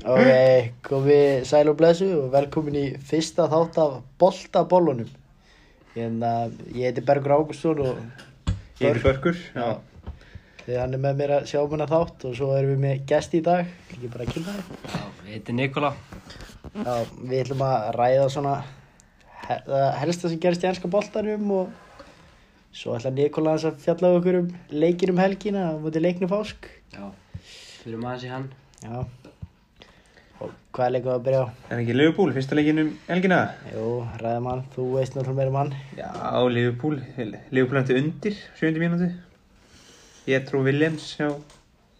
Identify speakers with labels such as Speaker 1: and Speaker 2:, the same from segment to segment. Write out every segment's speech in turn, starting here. Speaker 1: Ok, komið sæl og blessu og velkomin í fyrsta þátt af boltabólunum. Hérna, ég heiti Bergur Ágústsson og
Speaker 2: Ég heiti Börkur, já.
Speaker 1: þið hann er með mér að sjá mér að þátt og svo erum við með gest í dag, ekki bara að kynna þér.
Speaker 3: Já, ég heiti Nikola.
Speaker 1: Já, við ætlum að ræða svona he- það helsta sem gerist í ennska boltanum og svo ætla Nikolás að fjalla við okkur um leikir um helgina á mútið leiknum fásk.
Speaker 3: Já, fyrir maður sér hann.
Speaker 1: Já, og hvað er leikum að byrja á?
Speaker 2: Er ekki Liverpool, fyrsta leikinn um elgina?
Speaker 1: Jú, ræða mann, þú veist náttúrulega meira mann.
Speaker 2: Já, Liverpool. Liverpool hætti undir, 7. mínúti. Ég trú Williams hjá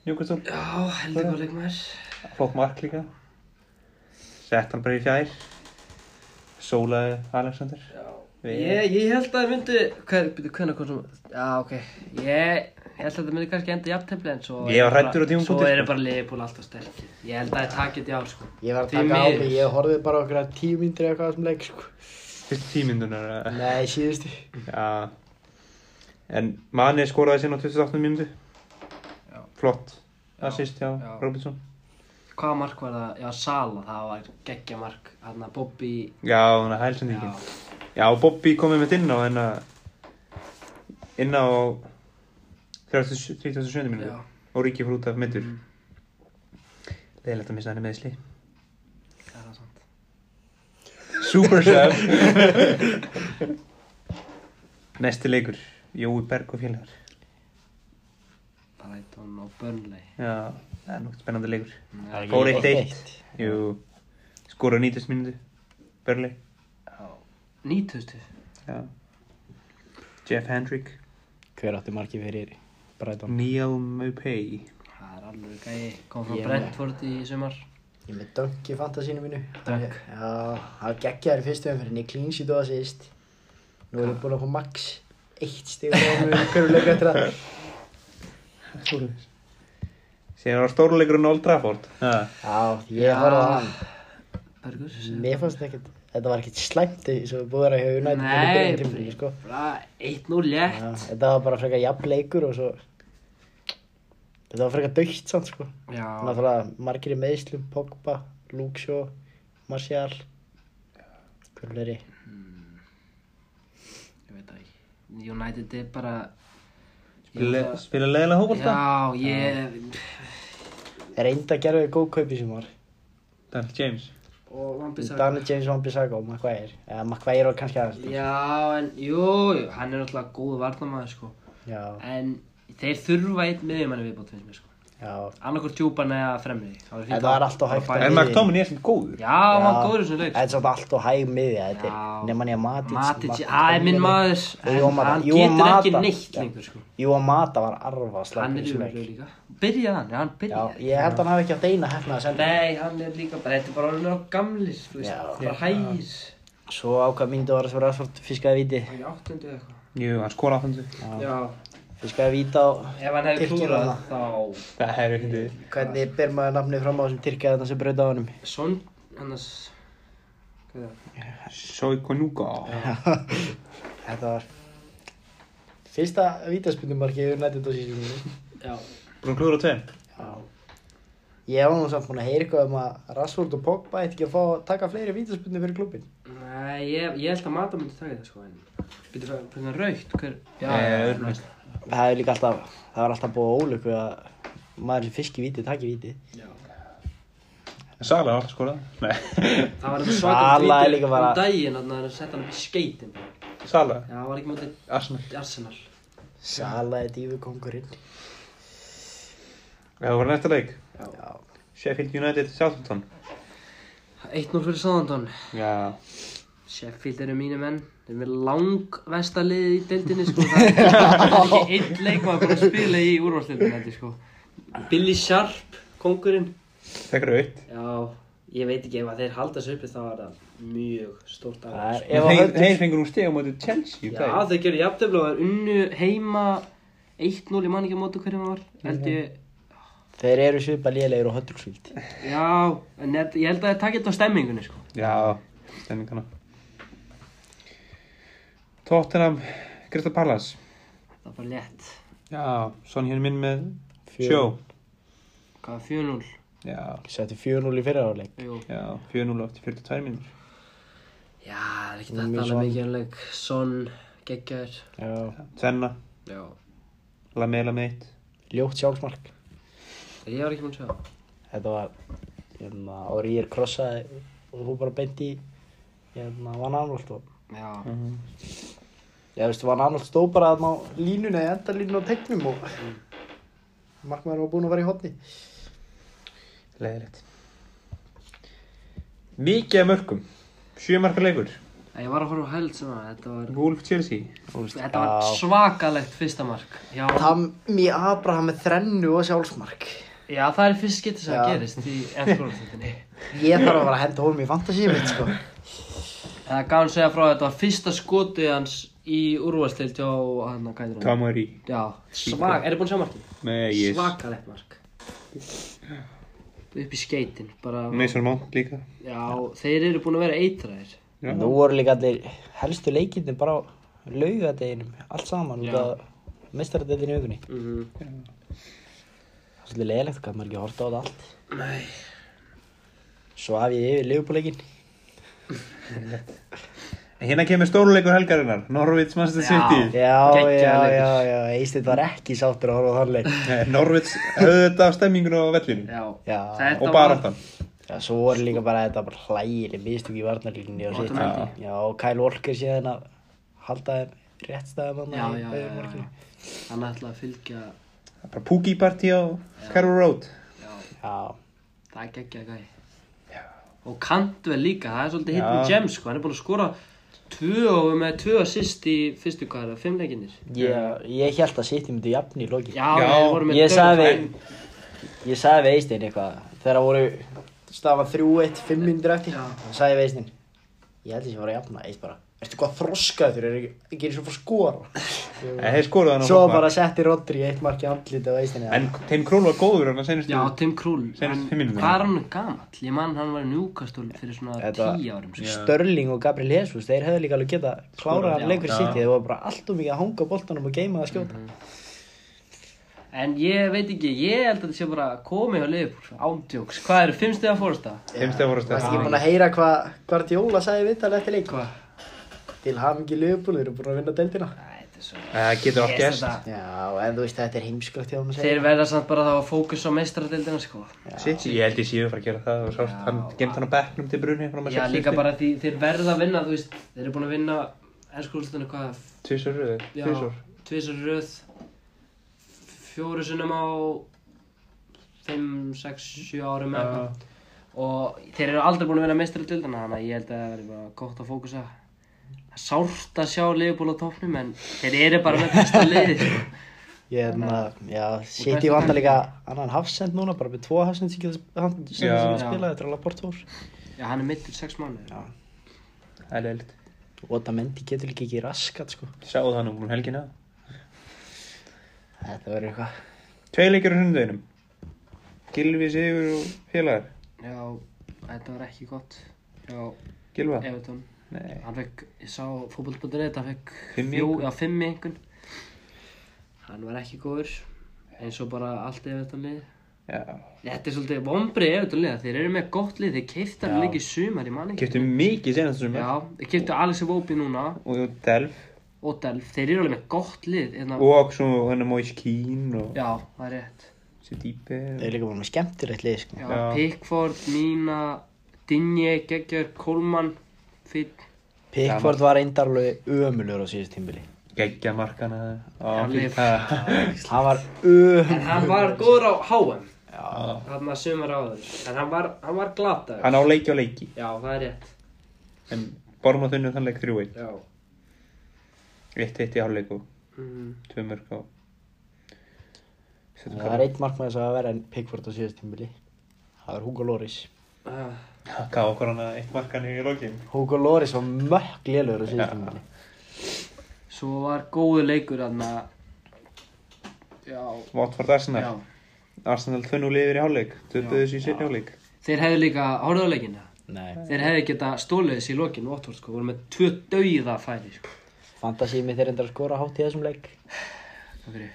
Speaker 2: Newcastle.
Speaker 3: Já, heldur hvað leikmaður.
Speaker 2: Flott mark líka. Sett hann bara í fjær. Sólaði Alexander. Við-
Speaker 3: Ég, ég held að það myndi, hver, byrju, hvernig kom sem, já, ok. Ég, ég held að það myndi kannski enda jafntefni en svo...
Speaker 2: Ég var hræddur á tímabúti,
Speaker 3: Svo
Speaker 2: sko.
Speaker 3: eru bara Liverpool alltaf sterkir. Ég held að það takit í ár, sko.
Speaker 1: Ég var að
Speaker 3: Því
Speaker 1: taka á
Speaker 3: miður.
Speaker 1: mig, ég horfið bara okkur að tíu mínútur eða eitthvað sem leik, sko.
Speaker 2: Fyrstu tímyndunar.
Speaker 1: Nei, síðustu.
Speaker 2: Já. En manni skoraði sinna á 28. mínúti.
Speaker 3: Já.
Speaker 2: Flott.
Speaker 3: Já,
Speaker 2: Assist hjá
Speaker 3: já.
Speaker 2: Robinson.
Speaker 3: Hvaða mark var það? Já, Sala, það var geggja mark. Hanna, Bobby,
Speaker 2: Já, þannig að
Speaker 3: já,
Speaker 2: hælsendingin. Já, Bobby komið mitt inn á hérna inn á 30 37. minúti
Speaker 3: já.
Speaker 2: og Ríkki fór út af myndur leiðilegt að missa hann í meðsli
Speaker 3: Það er sant.
Speaker 2: Super Sam Næsti leikur Jói Berg og félagar
Speaker 3: Brighton og Burnley.
Speaker 2: Já, það er nokkuð spennandi leikur
Speaker 3: Já,
Speaker 2: Fór eitt eitt Jú, skora á 90 minúti Börli
Speaker 3: Já. 90.
Speaker 2: Já Jeff Hendrick
Speaker 1: Hver átti markið fyrir Brighton?
Speaker 2: Neil Maupay
Speaker 3: Það er alveg gæi. Kom frá
Speaker 1: Ég-
Speaker 3: Brentford í sumar.
Speaker 1: Ég er með Dunk í fantasínu mínu.
Speaker 3: Dunk?
Speaker 1: Já, það geggjaður í fyrstu umferðinni, clean sheet og það síðist. Nú er ég búinn að fá max eitt stig og það er hverju leikur eftir það.
Speaker 2: Síðan var stóruleikurinn Old Trafford Já,
Speaker 1: Já, ég horfði á hann.
Speaker 3: Bergur,
Speaker 1: Mér fannst ekkert, þetta var ekkert slæmt eins og búið að vera hjá United í
Speaker 3: Nei,
Speaker 1: byrjun tímabilinu, sko.
Speaker 3: bara 1-0 létt.
Speaker 1: Já, þetta var bara frekar jafn leikur og svo... Þetta var frekar dögt samt, sko.
Speaker 3: Já,
Speaker 1: Náttúrulega margir í meðslum, Pogba, Luke Shaw, Martial Hver er ég?
Speaker 3: ég veit það ekki. United er bara...
Speaker 2: Le spila leiðilega hókvölda
Speaker 3: Já, ég...
Speaker 1: Reynda að gera við góð kaupi sem var
Speaker 2: Daniel James
Speaker 3: Og Van Bissaka.
Speaker 1: Danny James, Van Bissaka og McQuire Eða McQuire var kannski aðeins Já,
Speaker 3: Já, en jú, jú, hann er náttúrulega góð varnamæður, sko.
Speaker 1: já,
Speaker 3: En þeir þurfa einn miðjumann við bótt, finnst mér, sko. Annarkur djúpan eða fremri. Það
Speaker 1: Þetta var allt of hægt að-
Speaker 2: En
Speaker 1: Liðin.
Speaker 2: McDominay er sem góður
Speaker 3: Já, hann var
Speaker 1: Já.
Speaker 3: góður í þessum leik. sko.
Speaker 1: Þetta er svolítið allt og hæg miðja þetta
Speaker 3: Já.
Speaker 1: er Nefn hann ég að Matic
Speaker 3: Matic,
Speaker 1: Matic-
Speaker 3: það er minn maður.
Speaker 1: Jú,
Speaker 3: En
Speaker 1: Mata-
Speaker 3: hann
Speaker 1: Jú,
Speaker 3: getur ekki
Speaker 1: Mata.
Speaker 3: neitt
Speaker 1: Já.
Speaker 3: lengur, sko.
Speaker 1: Jú, að Mata var arfa
Speaker 3: Hann
Speaker 1: slagur
Speaker 3: er yfirlega líka. Byrjaði hann, já, hann
Speaker 1: Já,
Speaker 3: byrjaði.
Speaker 1: ég held að hann hafi ekki átt eina hefna að senda
Speaker 3: Nei, hann er líka bara, þetta er bara orðin á gamlir, þú veist,
Speaker 1: Já.
Speaker 3: bara hægir.
Speaker 1: Svo ákvað myndu var að svo ræðsvort fiskaði viti
Speaker 3: Það er áttundu eða eitthvað.
Speaker 2: Jú, hann skora áfendu
Speaker 3: Já.
Speaker 1: Fiskaði viti á
Speaker 3: Ef hann hefði
Speaker 1: Tyrkir
Speaker 3: klúrað
Speaker 1: var
Speaker 3: þá...
Speaker 2: Það er hundið
Speaker 1: Hvernig ber maður nafni fram á þessum tyrkja þarna sem brauði á honum
Speaker 3: Son, annars... Hvað er það?
Speaker 2: Soikonuga
Speaker 1: Þetta var fyrsta vítaspundumarki yfir nættið á sísunum.
Speaker 3: Já.
Speaker 2: Brún klúður á tveim
Speaker 1: Ég var nú samt búin að heyra eitthvað um að Rashford og Pogba eitthvað ekki að fá að taka fleiri vítaspundu fyrir klubin.
Speaker 3: Nei, ég, ég held að Mata myndi taka það, sko, en... Býttu hvað, hvernig hann raukt, hver... Já,
Speaker 2: Eh,
Speaker 3: já,
Speaker 2: öðru næst.
Speaker 1: Það er líka alltaf, það var alltaf búið ólöku að maður sem fiski víti, taki víti.
Speaker 3: já.
Speaker 2: Sala var alltaf skorað Nei
Speaker 3: Það var þetta
Speaker 1: Sala
Speaker 3: svakar
Speaker 1: er líka bara-
Speaker 3: um daginn, þannig að hann sett hann upp í skeitin. bara.
Speaker 2: Sala
Speaker 3: Já, hann var ekki mútið
Speaker 2: Arsenal
Speaker 3: Arsenal.
Speaker 1: Salaði dífukongurinn.
Speaker 2: Það var næsta leik
Speaker 3: Já.
Speaker 1: Já,
Speaker 2: Sheffield United Southampton
Speaker 3: 1-0 fyrir Sáðandón.
Speaker 2: Já
Speaker 3: Sheffield eru mínu menn Þeir eru með langvesta liðið í deildinni sko. Það er ekki einn leikmaður búin að spila í úrvalstildinni sko. Billy Sharp, kongurinn
Speaker 2: Þegar aukt
Speaker 3: Já, ég veit ekki ef að þeir halda þessu uppi þá er það mjög stórt af
Speaker 1: það er,
Speaker 3: sko.
Speaker 1: ef að
Speaker 2: Þeir
Speaker 1: höndum,
Speaker 2: þeir fengur úr stegum á móti Chelsea í
Speaker 3: Já,
Speaker 2: dag.
Speaker 3: þeir gerðu jafntefla og er unnu heima 1-0 í manningi á mótu hverjum það var held ég
Speaker 1: þeir eru svipa lélegir og höndrúksvíld.
Speaker 3: Já, en ég ég held að það takit á stemmingunni sko.
Speaker 2: Já Stemmingana Tottenham Crystal Palace
Speaker 3: Það er bara létt
Speaker 2: Já Son hér minn með
Speaker 1: Fjör.
Speaker 2: Sjó
Speaker 3: Hvað, 4-0?
Speaker 2: Já,
Speaker 1: Sætti 4-0 í fyrra áleik.
Speaker 3: Jú.
Speaker 2: já, 4-0 eftir 42 mínútur.
Speaker 3: Já, það er ekki
Speaker 1: Mjög
Speaker 3: þetta alveg
Speaker 1: svona.
Speaker 3: mikið anleik. Son, geggjær.
Speaker 1: Já,
Speaker 2: Tvenna,
Speaker 3: Já.
Speaker 2: lamela með eitt.
Speaker 1: ljótt sjálfsmark.
Speaker 3: Ég var ekki múin að sjá. það.
Speaker 1: Þetta var, hérna, ári ég er krossaði og þú bara beint í, hérna, Van Arnold og...
Speaker 3: Já.
Speaker 1: Já, veistu, Van Arnold stó bara þarna á línunni, endarlínunni á tegnum og... Markmaður var búinn að vera í hotni.
Speaker 2: Leðilegt. Mikið af mörgum. Sjö marka leikur.
Speaker 3: En Ég var að horfa á held sem að þetta var...
Speaker 2: Wolf Chelsea.
Speaker 3: Þetta var svakalegt fyrsta mark. Já,
Speaker 1: Tammy Abraham með þrennu og sjálfsmark.
Speaker 3: já það er fyrst getur sem
Speaker 1: Já.
Speaker 3: að gerist í ennskólastöndinni.
Speaker 1: Ég þarf að vera að henda honum í fantasíum mitt, sko.
Speaker 3: Það gaf hann segja frá að þetta var fyrsta skotið hans í úrvalstilt hjá hann að gæður hann.
Speaker 2: Tamari.
Speaker 3: Já, svak, er þið búin að sjá markið?
Speaker 2: Nei, ég...
Speaker 3: Svakalegt mark. Upp í skeitin, bara...
Speaker 2: Mason Mount líka.
Speaker 3: Já, þeir eru búin að vera eitræðir.
Speaker 2: Já.
Speaker 1: Nú voru líka allir helstu leikindi bara á laugadeginum, allt saman, út
Speaker 3: Já.
Speaker 1: af mestaradeginni augunni.
Speaker 3: Mm
Speaker 1: Mhm. Það er svolítið leiðilegt, hvað maður ekki að horta á þetta allt.
Speaker 3: Nei.
Speaker 1: Svaf ég yfir liðbúleikinn.
Speaker 2: Hérna kemur stóruleikur helgarinnar. Norvits Manchester
Speaker 3: Já.
Speaker 2: City.
Speaker 1: Já, já,
Speaker 3: Geggjaður leikur.
Speaker 1: já, já, Eistedd var ekki sáttur að horfa á þann leik.
Speaker 2: Nei, Norvits höfðu þetta Eh, af stemminguna á vellinu.
Speaker 3: Já,
Speaker 1: Já.
Speaker 3: þetta
Speaker 2: Og baráttan.
Speaker 1: Já, svo voru líka bara þetta bara hlægileg mistök í varnarlíkunni og sitt.
Speaker 3: Automatic.
Speaker 1: Já, og Kyle Walker síðan að halda þeim rétt staðum
Speaker 3: Já,
Speaker 1: hann
Speaker 3: já, já, já, já. Hann ætlaði að fylgja,
Speaker 2: Það er Bara Pookie Party á Carroll Road.
Speaker 3: já,
Speaker 1: Já,
Speaker 3: það er geggja gæði. Og Kantvel líka, það er svolítið hidden
Speaker 2: Já.
Speaker 3: gem, sko. Hann er búin að skora tvö og er með tvö assist í fyrstu hvaðra, fimm leikinnir.
Speaker 1: ég, ég held að City myndi jafn í loki.
Speaker 3: Já,
Speaker 2: Já,
Speaker 3: þeir voru með
Speaker 1: Ég sagði
Speaker 3: dauðafæri.
Speaker 1: við, ég sagði við Eistinn eitthvað, þegar voru stafa 3-1, 5 minnir eftir,
Speaker 3: Já.
Speaker 1: þá sagði ég við Eistinn, ég held að ég var að jafna, Eist bara, ertu hvað þroskaður þurr, er ekki, ekki eins og fór skora.
Speaker 2: Nei, Eh, þeir skoruðu hann á
Speaker 1: Svo
Speaker 2: fólkmark.
Speaker 1: bara setti Rodri eitt mark í andlita á Eistinn.
Speaker 2: En Tim Krul var góður hann að senastu.
Speaker 3: Já, Tim Krul,
Speaker 2: Seinustu
Speaker 3: hann-
Speaker 2: fimm mínútur.
Speaker 3: hvað er hann gamall? Ég man hann var í Newcastle fyrir svona
Speaker 1: Þetta-
Speaker 3: tíu árum. sko.
Speaker 1: Störling og Gabriel Jesus, þeir hefðu líka alveg geta klárað
Speaker 3: já. Mhm.
Speaker 1: hann leikur
Speaker 2: Já.
Speaker 1: City, þeir voru bara allt og mikið að hanga á boltanum og geima að skjóta.
Speaker 3: En ég veit ekki, ég held að þetta sé bara komið á Liverpool, ándjóks. Hvað eru, fimm stuða fórsta?
Speaker 2: Heimstæða voru
Speaker 1: Þú veist ekki
Speaker 2: stæð.
Speaker 1: búin að heyra hvað Guardiola sagði viðtal eftir leik
Speaker 3: Hvað?
Speaker 1: Til hafingi Liverpool, þeir eru búin að vinna deildina
Speaker 3: Æ, þetta er svo...
Speaker 2: Það getur oft
Speaker 3: Yes,
Speaker 2: gæst.
Speaker 3: þetta-
Speaker 1: Já, en þú veist þetta er heimsklögt hjá hann að segja
Speaker 3: Þeir verða samt bara þá að fókus á meistradeildina, sko.
Speaker 2: City, ég held ég séu að fara að gera það og sást, hann gemt hann á bekknum til brunni frá maður
Speaker 3: Já, líka bara því þeir verða að vinna, þú veist, þeir eru búin að vinna ennskólustunni hvað,
Speaker 2: Tvísor röður,
Speaker 3: já,
Speaker 2: tvísor
Speaker 3: tvisar röð, fjóru sinnum á 5, 6, 7 árum eða eitthvað. Og þeir eru aldrei búin að vinna meistradeildina, þannig að ég held að það verði bara gott að fókusa. Það er sárt að sjá Leopold á toppnum, en þeir eru bara með besta liðið, sko.
Speaker 1: Ég er maður, já,
Speaker 3: Mhm. besta
Speaker 1: City vantar líka annan hafsend núna, bara með tvo hafsend sem getur hann- sem
Speaker 2: Já.
Speaker 1: getur
Speaker 3: Já.
Speaker 1: spilað eftir alveg bortór
Speaker 3: Já, hann er mittur 6 mánuðir.
Speaker 1: Já,
Speaker 2: Það er leiligt
Speaker 1: og það mendi getur líka ekki raskat sko
Speaker 2: Sáðu það nú um helgina
Speaker 1: Þetta verður eitthvað
Speaker 2: Tvei leikir á hundveginum Gilvi Sigur og félagar
Speaker 3: Já, þetta var ekki gott. Já,
Speaker 2: Gilva?
Speaker 3: Evertón.
Speaker 2: Nei
Speaker 3: hann fekk, ég sá fótboll.net hann fekk
Speaker 2: Fimm í
Speaker 3: fjó,
Speaker 2: einkunn.
Speaker 3: já, fimm í einhvern hann var ekki góður eins og bara allt eða þetta lið
Speaker 2: Já
Speaker 3: þetta er svolítið vombrið eða þetta lið þeir eru með gott lið, þeir keifta hann líka í sumar ég man ekki
Speaker 2: Kiptu mikið senast sem
Speaker 3: já, þeir keiftu Alexi Vóbi núna
Speaker 2: Og Delf
Speaker 3: og Delf, þeir eru alveg með gott lið hérna,
Speaker 2: Og svo hennar Moise Keane og
Speaker 3: já, það er rétt
Speaker 2: Sér dýpi
Speaker 1: Þeir eru líka bara með skemmtilegt lið sko
Speaker 3: já,
Speaker 2: Já.
Speaker 3: Pickford, Mina Dinje, Geggjör, Kolman Finn,
Speaker 1: Pickford var eindarlega ömulur á síðust tímbili
Speaker 2: Geggja markana
Speaker 3: Já, Leif.
Speaker 2: Já,
Speaker 1: Hann var ömulur
Speaker 3: en hann var góður á HM
Speaker 2: Já.
Speaker 3: þarna sumar áður, en hann var, hann var glataður
Speaker 2: Hann á leiki á leiki
Speaker 3: já, það er rétt
Speaker 2: En Bormóð þunni þann leik 3-1
Speaker 3: já
Speaker 2: Eitt eitt í hálfleik og
Speaker 3: Mm.
Speaker 2: tvö mörg á Settu
Speaker 1: Það var eitt markmaður sem var verið en Pickford á síðust tímbili Það var Hugo Loris
Speaker 3: Ah,
Speaker 2: Gaf okkur hann eitt markan í lokin
Speaker 1: Hugo Loris var mökk lélur á síðust tímbili
Speaker 3: Svo var góðu leikur aðna Já,
Speaker 2: Watford
Speaker 3: já
Speaker 2: Arsenal Arsenal 2-0 yfir í hálfleik Töpuðu þessu í seinni hálfleik
Speaker 3: Þeir hefðu líka, horfðu á leikina
Speaker 1: Nei
Speaker 3: Þeir hefðu geta stólið þessi í lokin Votvort sko, voru með tvö dauða færi sko.
Speaker 1: Fantasíu mitt er endur að skora hátt í þessum leik
Speaker 3: Hvað fyrir?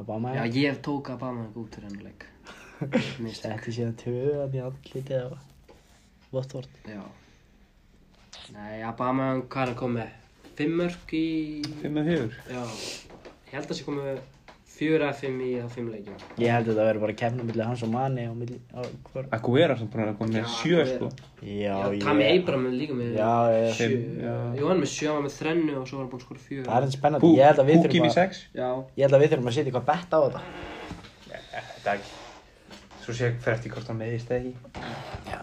Speaker 1: Abama
Speaker 3: Já, ég tók að bama mig út fyrir hennar leik mistök
Speaker 1: Setti síðan töðan í andlitið á Votvort.
Speaker 3: Já Nei, Abama, hvað er hann komið? Fimm mörg í
Speaker 2: Fimm með fjögur.
Speaker 3: Já Ég held að sé komið fjögur að fimm í þá fimm leikjum
Speaker 1: Ég held að þetta verður bara kemna millir hans og manni og millir... á hvor-
Speaker 2: Aguera sem búin að koma
Speaker 3: Já,
Speaker 2: með sjö
Speaker 3: Aguero.
Speaker 2: sko.
Speaker 1: Já,
Speaker 3: Já,
Speaker 1: ég...
Speaker 3: Tami Abram er líka með
Speaker 1: Já, ég...
Speaker 3: sjö
Speaker 2: Fimm, já.
Speaker 3: Jú, hann er með sjö, hann er með þrennu og svo var hann búinn að skora fjögur
Speaker 1: Það er enn spennandi. Ég held að við
Speaker 2: Púkim
Speaker 1: þurfum
Speaker 2: í
Speaker 1: að...
Speaker 2: sex.
Speaker 3: Já
Speaker 1: Ég held að við þurfum að setja eitthvað bett á þetta.
Speaker 2: eh, Þetta er ekki. Svo sé ég fer eftir hvort hann meðist eða ekki.
Speaker 1: Já.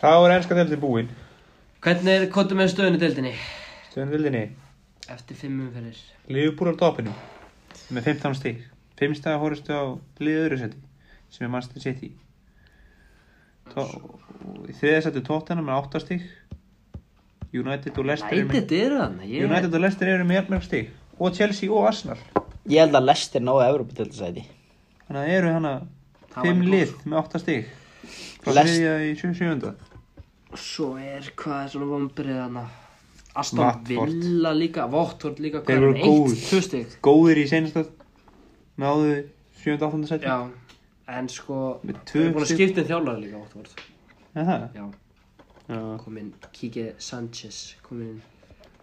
Speaker 2: Þá er ennska deildin búinn.
Speaker 3: Hvernig er kottum með stöðunni í deildinni?
Speaker 2: Stöðan vildinni.
Speaker 3: Eftir fimm umferðir
Speaker 2: Liverpool á topinum. Með 15 stík. Fimm staða hórustu á liðið öðru seti. Sem er Manchester City. To í þriðja seti tóttina með 8 stík. United og Leicester eru með-
Speaker 3: United eru þarna ég...
Speaker 2: United og Leicester eru með jafnmörg stík. Og Chelsea og Arsenal.
Speaker 1: Ég held að Lester náðu Evropa til þess að þetta.
Speaker 2: Þannig að eru hana
Speaker 3: Það var
Speaker 2: fimm
Speaker 3: mjög
Speaker 2: lið með 8 stík. Frá
Speaker 1: Leicester-
Speaker 2: þriðja í 7.7.
Speaker 3: Svo er, hvað er svona vombrið þarna? Aston
Speaker 2: Watford.
Speaker 3: Villa líka, Votvort líka
Speaker 2: Þeir
Speaker 3: hvað er
Speaker 2: voru
Speaker 3: hann? Eitt,
Speaker 2: góðir.
Speaker 3: tvö stygg
Speaker 2: Góðir í senasta náðu 7.8. seti.
Speaker 3: Já, en sko
Speaker 2: Með
Speaker 3: Við erum búin að
Speaker 2: tvö-
Speaker 3: skipta um þjálfari líka Votvort
Speaker 2: Er það?
Speaker 3: Já,
Speaker 2: Já.
Speaker 3: kominn Kike Sanchez kominn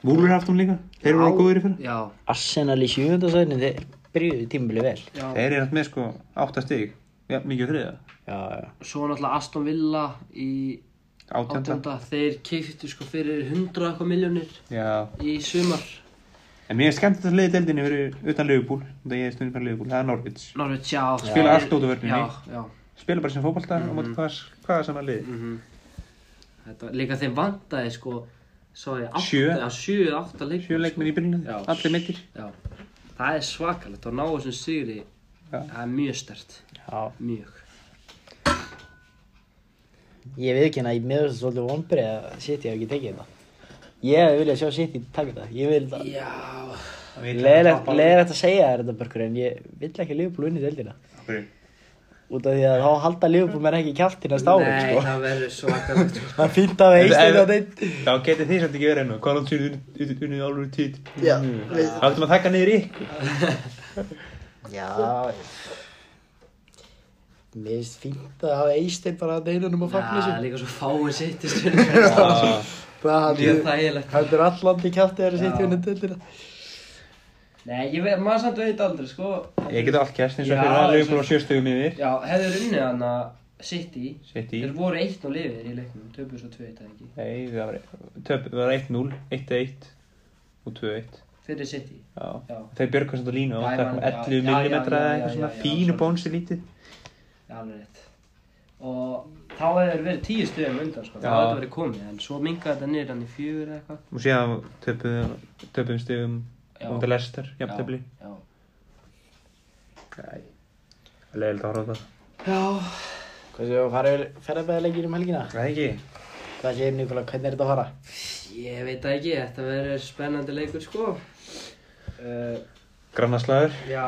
Speaker 2: Vúlur haftum líka. Þeir eru
Speaker 3: Á-
Speaker 2: góðir í fyrra.
Speaker 3: Já,
Speaker 1: Arsenal í sjöfundasæðinu, þeir byrjuðu tímabili vel.
Speaker 3: já
Speaker 2: Þeir eru með sko 8 stík. Já, mikið á þriðja.
Speaker 1: Já, já.
Speaker 3: Svo náttúrulega Aston Villa í
Speaker 2: Átjönda.
Speaker 3: átjönda Þeir keiftu sko fyrir 100 eitthvað miljónir
Speaker 2: Já.
Speaker 3: í sumar
Speaker 2: En mér er skemmt að leiði deildinni verið utan Liverpool. Það ég er stundin fyrir Liverpool. Það er Norvits.
Speaker 3: Norvits, já
Speaker 2: Spila allt út úr vörninni.
Speaker 3: Já, já
Speaker 2: Spila bara sem fótballta á móti hvað, hvað sem að leiði.
Speaker 3: mhm. Þetta, líka þeim vantaði sko Svo ég átta,
Speaker 2: Sjö.
Speaker 3: já, sjö, eða átta leikmenn
Speaker 2: Sjö leikmenn í byrjunum.
Speaker 3: Já.
Speaker 2: Allir mittir.
Speaker 3: Já, það er svakalegt og ná þessum sigri,
Speaker 2: Já.
Speaker 3: það er mjög stert,
Speaker 1: Já.
Speaker 3: mjög.
Speaker 1: Ég veit ekki hérna, ég meður þess að svolítið vonbrið að City hafi ekki tekið þetta. Ég hefði viljað sjá City taka þetta. Ég vil það.
Speaker 3: Já,
Speaker 1: Leðilegt leðilegt að segja þér þetta börkur en ég vill ekki Liverpool vinni deildina. Út af því að þá halda Liverpool menn ekki kjátt í næsta árum,
Speaker 3: nei,
Speaker 1: sko.
Speaker 3: það verður svakalegt. sko.
Speaker 1: Það er fínt að
Speaker 2: Ef-
Speaker 1: veist
Speaker 2: ef-
Speaker 1: þetta á þeim.
Speaker 2: Þá getið þið samt ekki verið hennu. Hvað er alveg unnið álur tít?
Speaker 1: Já, við-
Speaker 2: Það ættum að taka niður ykkur.
Speaker 1: Já, mér finnst fínt að hafa Eistein bara að neinunum að fagna
Speaker 3: Það er
Speaker 1: sér.
Speaker 3: líka svo fáið sitt í stundum,
Speaker 2: Já.
Speaker 1: Það
Speaker 3: mjög
Speaker 1: heldur,
Speaker 3: þægilegt.
Speaker 1: heldur allandi kjátt eða City
Speaker 3: Já.
Speaker 1: vinni deildina.
Speaker 3: Nei, ég veit, maður samt veit aldrei, sko.
Speaker 2: Ég get allt kæst eins og
Speaker 3: Já,
Speaker 2: fyrir að Liverpool á
Speaker 3: eins og-
Speaker 2: sjöstugum yfir.
Speaker 3: Já, hefur unnið hann að City,
Speaker 2: City.
Speaker 3: þeir voru eitt og lifir í leiknum, töpur svo tveit eða ekki,
Speaker 2: Nei, það var, töp, það var 1-0, 1-1 og 2-1.
Speaker 3: fyrir City.
Speaker 2: Já.
Speaker 3: Já.
Speaker 2: Þeir björgast þetta línu
Speaker 3: Já,
Speaker 2: og
Speaker 3: ég
Speaker 2: það kom
Speaker 3: man- já,
Speaker 2: 11
Speaker 3: já, já,
Speaker 2: mm eða
Speaker 3: já,
Speaker 2: eitthvað
Speaker 3: já,
Speaker 2: svona
Speaker 3: já, já,
Speaker 2: fínu
Speaker 3: svona.
Speaker 2: bónsi lítið.
Speaker 3: Já, alveg rétt. Og þá hefur verið tíu stöðum undan, sko, þá
Speaker 2: Já.
Speaker 3: hefur þetta verið komið, en svo mingaði þetta niður hann í fjögur eða eitthvað.
Speaker 2: Og síðan töpuðu- töpuðum stigum
Speaker 3: Já.
Speaker 2: mútið Lester, jafntefli.
Speaker 3: Já, já.
Speaker 2: Nei, það er leiðilegt að horfa á það.
Speaker 3: Já,
Speaker 1: Hvað séu, farið ferðarbæðilegir um helgina?
Speaker 2: Það er ekki.
Speaker 1: Hvað séu, Nikola, hvernig er þetta að fara?
Speaker 3: ég veit það ekki, þetta verður spennandi leikur sko. Uh,
Speaker 2: Grannaslagur.
Speaker 3: já,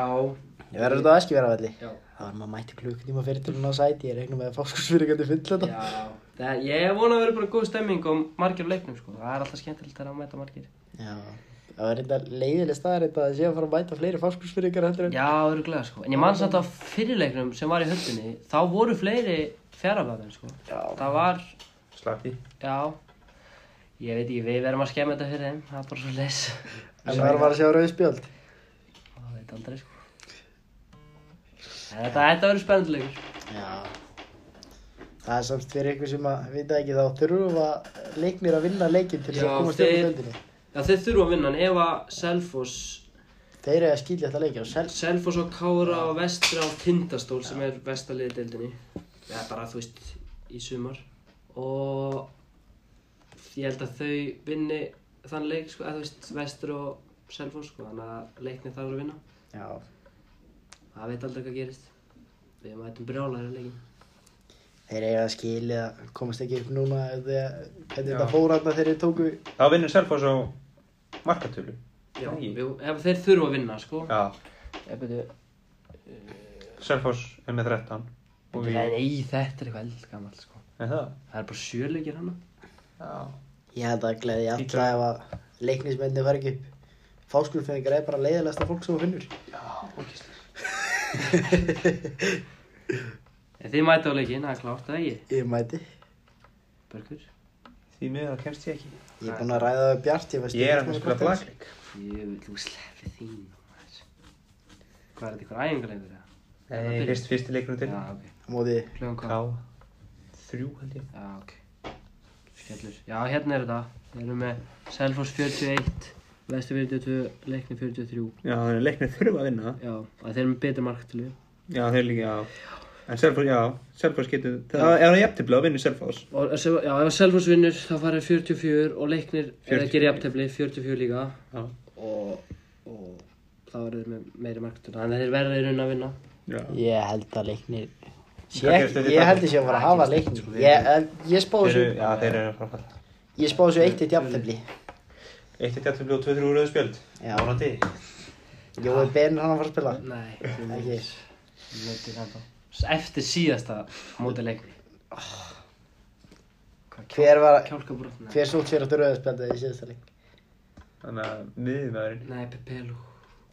Speaker 1: Ég verður þetta á Eskifjarafelli.
Speaker 3: já,
Speaker 1: Það var maður mætti klukkutíma fyrir til hún á sæti, ég regnum með að fáskursfyrir gæti fyll þetta.
Speaker 3: já. Það, ég vona að vera bara góð stemming og margir á leiknum sko. Það er alltaf skemmtilegt þegar að mæta margir.
Speaker 1: Já. Það var reynda leiðileg staðarind að það sé að fara að mæta fleiri fáskursfyrir heldur en...
Speaker 3: Já, öruglega sko. En ég man samt að fyrirleiknum sem var í höfninni, þá voru fleiri fjárafæðin sko.
Speaker 1: Já.
Speaker 3: Það var,
Speaker 2: Slatti.
Speaker 3: já, ég veit ekki, við verðum að skemma þetta fyrir þeim, það er bara svo les.
Speaker 1: En það var að sjá rauðspjöld.
Speaker 3: Það veit aldrei sko. En Þetta, þetta verður spennandi leikur.
Speaker 1: Já. Það er samt fyrir ykkur sem að vita ekki þá þurfa leiknir að vinna leikin til þess
Speaker 3: Já,
Speaker 1: að komast upp á
Speaker 3: þeir-
Speaker 1: döldinni.
Speaker 3: Já, þeir þurfa að vinna, en ef að Selfoss
Speaker 1: Þeir eru að skilja þetta leiki og sel...
Speaker 3: Selfoss og Kára og Vestra og Tindastól sem er vestaliðið deildinni eða bara þú veist í sumar og ég held að þau vinni þann leik sko, eða þú veist Vestur og Selfoss sko, þannig að leikni þarf að vinna
Speaker 1: Já.
Speaker 3: það veit aldrei hvað gerist við mætum brjálæri leikin
Speaker 1: Þeir eru að skilja, komast ekki upp núna þegar hvernig þetta fór hann þegar þeir tóku...
Speaker 2: Þá vinnur Selfoss á markatölu.
Speaker 3: Já,
Speaker 2: Nei.
Speaker 3: við, ef þeir þurfa að vinna sko
Speaker 2: Já.
Speaker 3: Ef byrju,
Speaker 2: Selfoss er með 13. Og við...
Speaker 3: Nei, þetta er eitthvað eldgammal sko
Speaker 2: Er það?
Speaker 3: Það er bara sjöleikir hana
Speaker 2: Já.
Speaker 1: Ég held að gleði allra ef að leiknismenni fari ekki upp. Fáskurfinningar er bara leiðilegasta fólk sem þú finnur.
Speaker 2: Já, ógislega.
Speaker 3: En þið mæta á leikinn, það er klárt að ég,
Speaker 1: Ég mæti.
Speaker 3: Börgur.
Speaker 2: Því miður að kemst ég ekki.
Speaker 1: Ég er búinn að ræða það bjart, ég veist
Speaker 2: Ég er að
Speaker 1: hvað
Speaker 2: fara
Speaker 1: það
Speaker 2: að spila
Speaker 1: er.
Speaker 2: blagleik.
Speaker 3: Ég vil þú slefi þín. maður. Hvað er þetta, ykkur æfingarleikur eða?
Speaker 2: Nei, fyrst, fyrsti leikurinn til.
Speaker 3: Já, ok.
Speaker 1: Á Móti,
Speaker 3: Kljóðan
Speaker 2: Ká.
Speaker 3: hvað?
Speaker 2: Þrjú held ég.
Speaker 3: Já, ok. Skellur. Já, hérna er þetta. Við erum með Selfoss 41, Vestur 42, Leikni 43.
Speaker 2: Já, þannig að leiknir þurfa að vinna.
Speaker 3: Já, að þeir eru með betur marktölu.
Speaker 2: Já, þeir líka, já. En Selfoss, já, Selfoss getur, það er það jafntefli að vinna Selfoss.
Speaker 3: Og, ef- já, ef Selfoss vinnur þá farið 44 og Leiknir er að
Speaker 2: 40.
Speaker 3: gera jafntefli 44 líka.
Speaker 2: Já.
Speaker 3: og, og þá verður þeir með meiri marktuna þannig að þeir verða í raun að vinna
Speaker 2: Já.
Speaker 1: ég held að leiknir... Sé
Speaker 2: Hvað
Speaker 1: ekki-
Speaker 2: gerist ef þið
Speaker 1: Ég
Speaker 2: tapið?
Speaker 1: held þessi að fara að hafa leiknir. Ég, ég spá þessu,
Speaker 2: Þeir sko, eru, já, þeir eru að fara að falla.
Speaker 1: ég spá þessu eitt eitt jafntefli.
Speaker 2: Eitt eitt jafntefli og tvö þrjú rauðu spjöld.
Speaker 1: Já.
Speaker 2: Vonandi.
Speaker 1: Jói Ben er hann að fara að spila.
Speaker 3: Nei,
Speaker 1: Ekki.
Speaker 3: Leiknir ennþá. eftir síðasta móti Leikni
Speaker 1: Hver var-
Speaker 3: Kjálkabrotna
Speaker 1: Hver sótt sér að durða að spila í síðasta leik?
Speaker 2: Þannig að miðjumæðurinn.
Speaker 3: Nei, Pepelu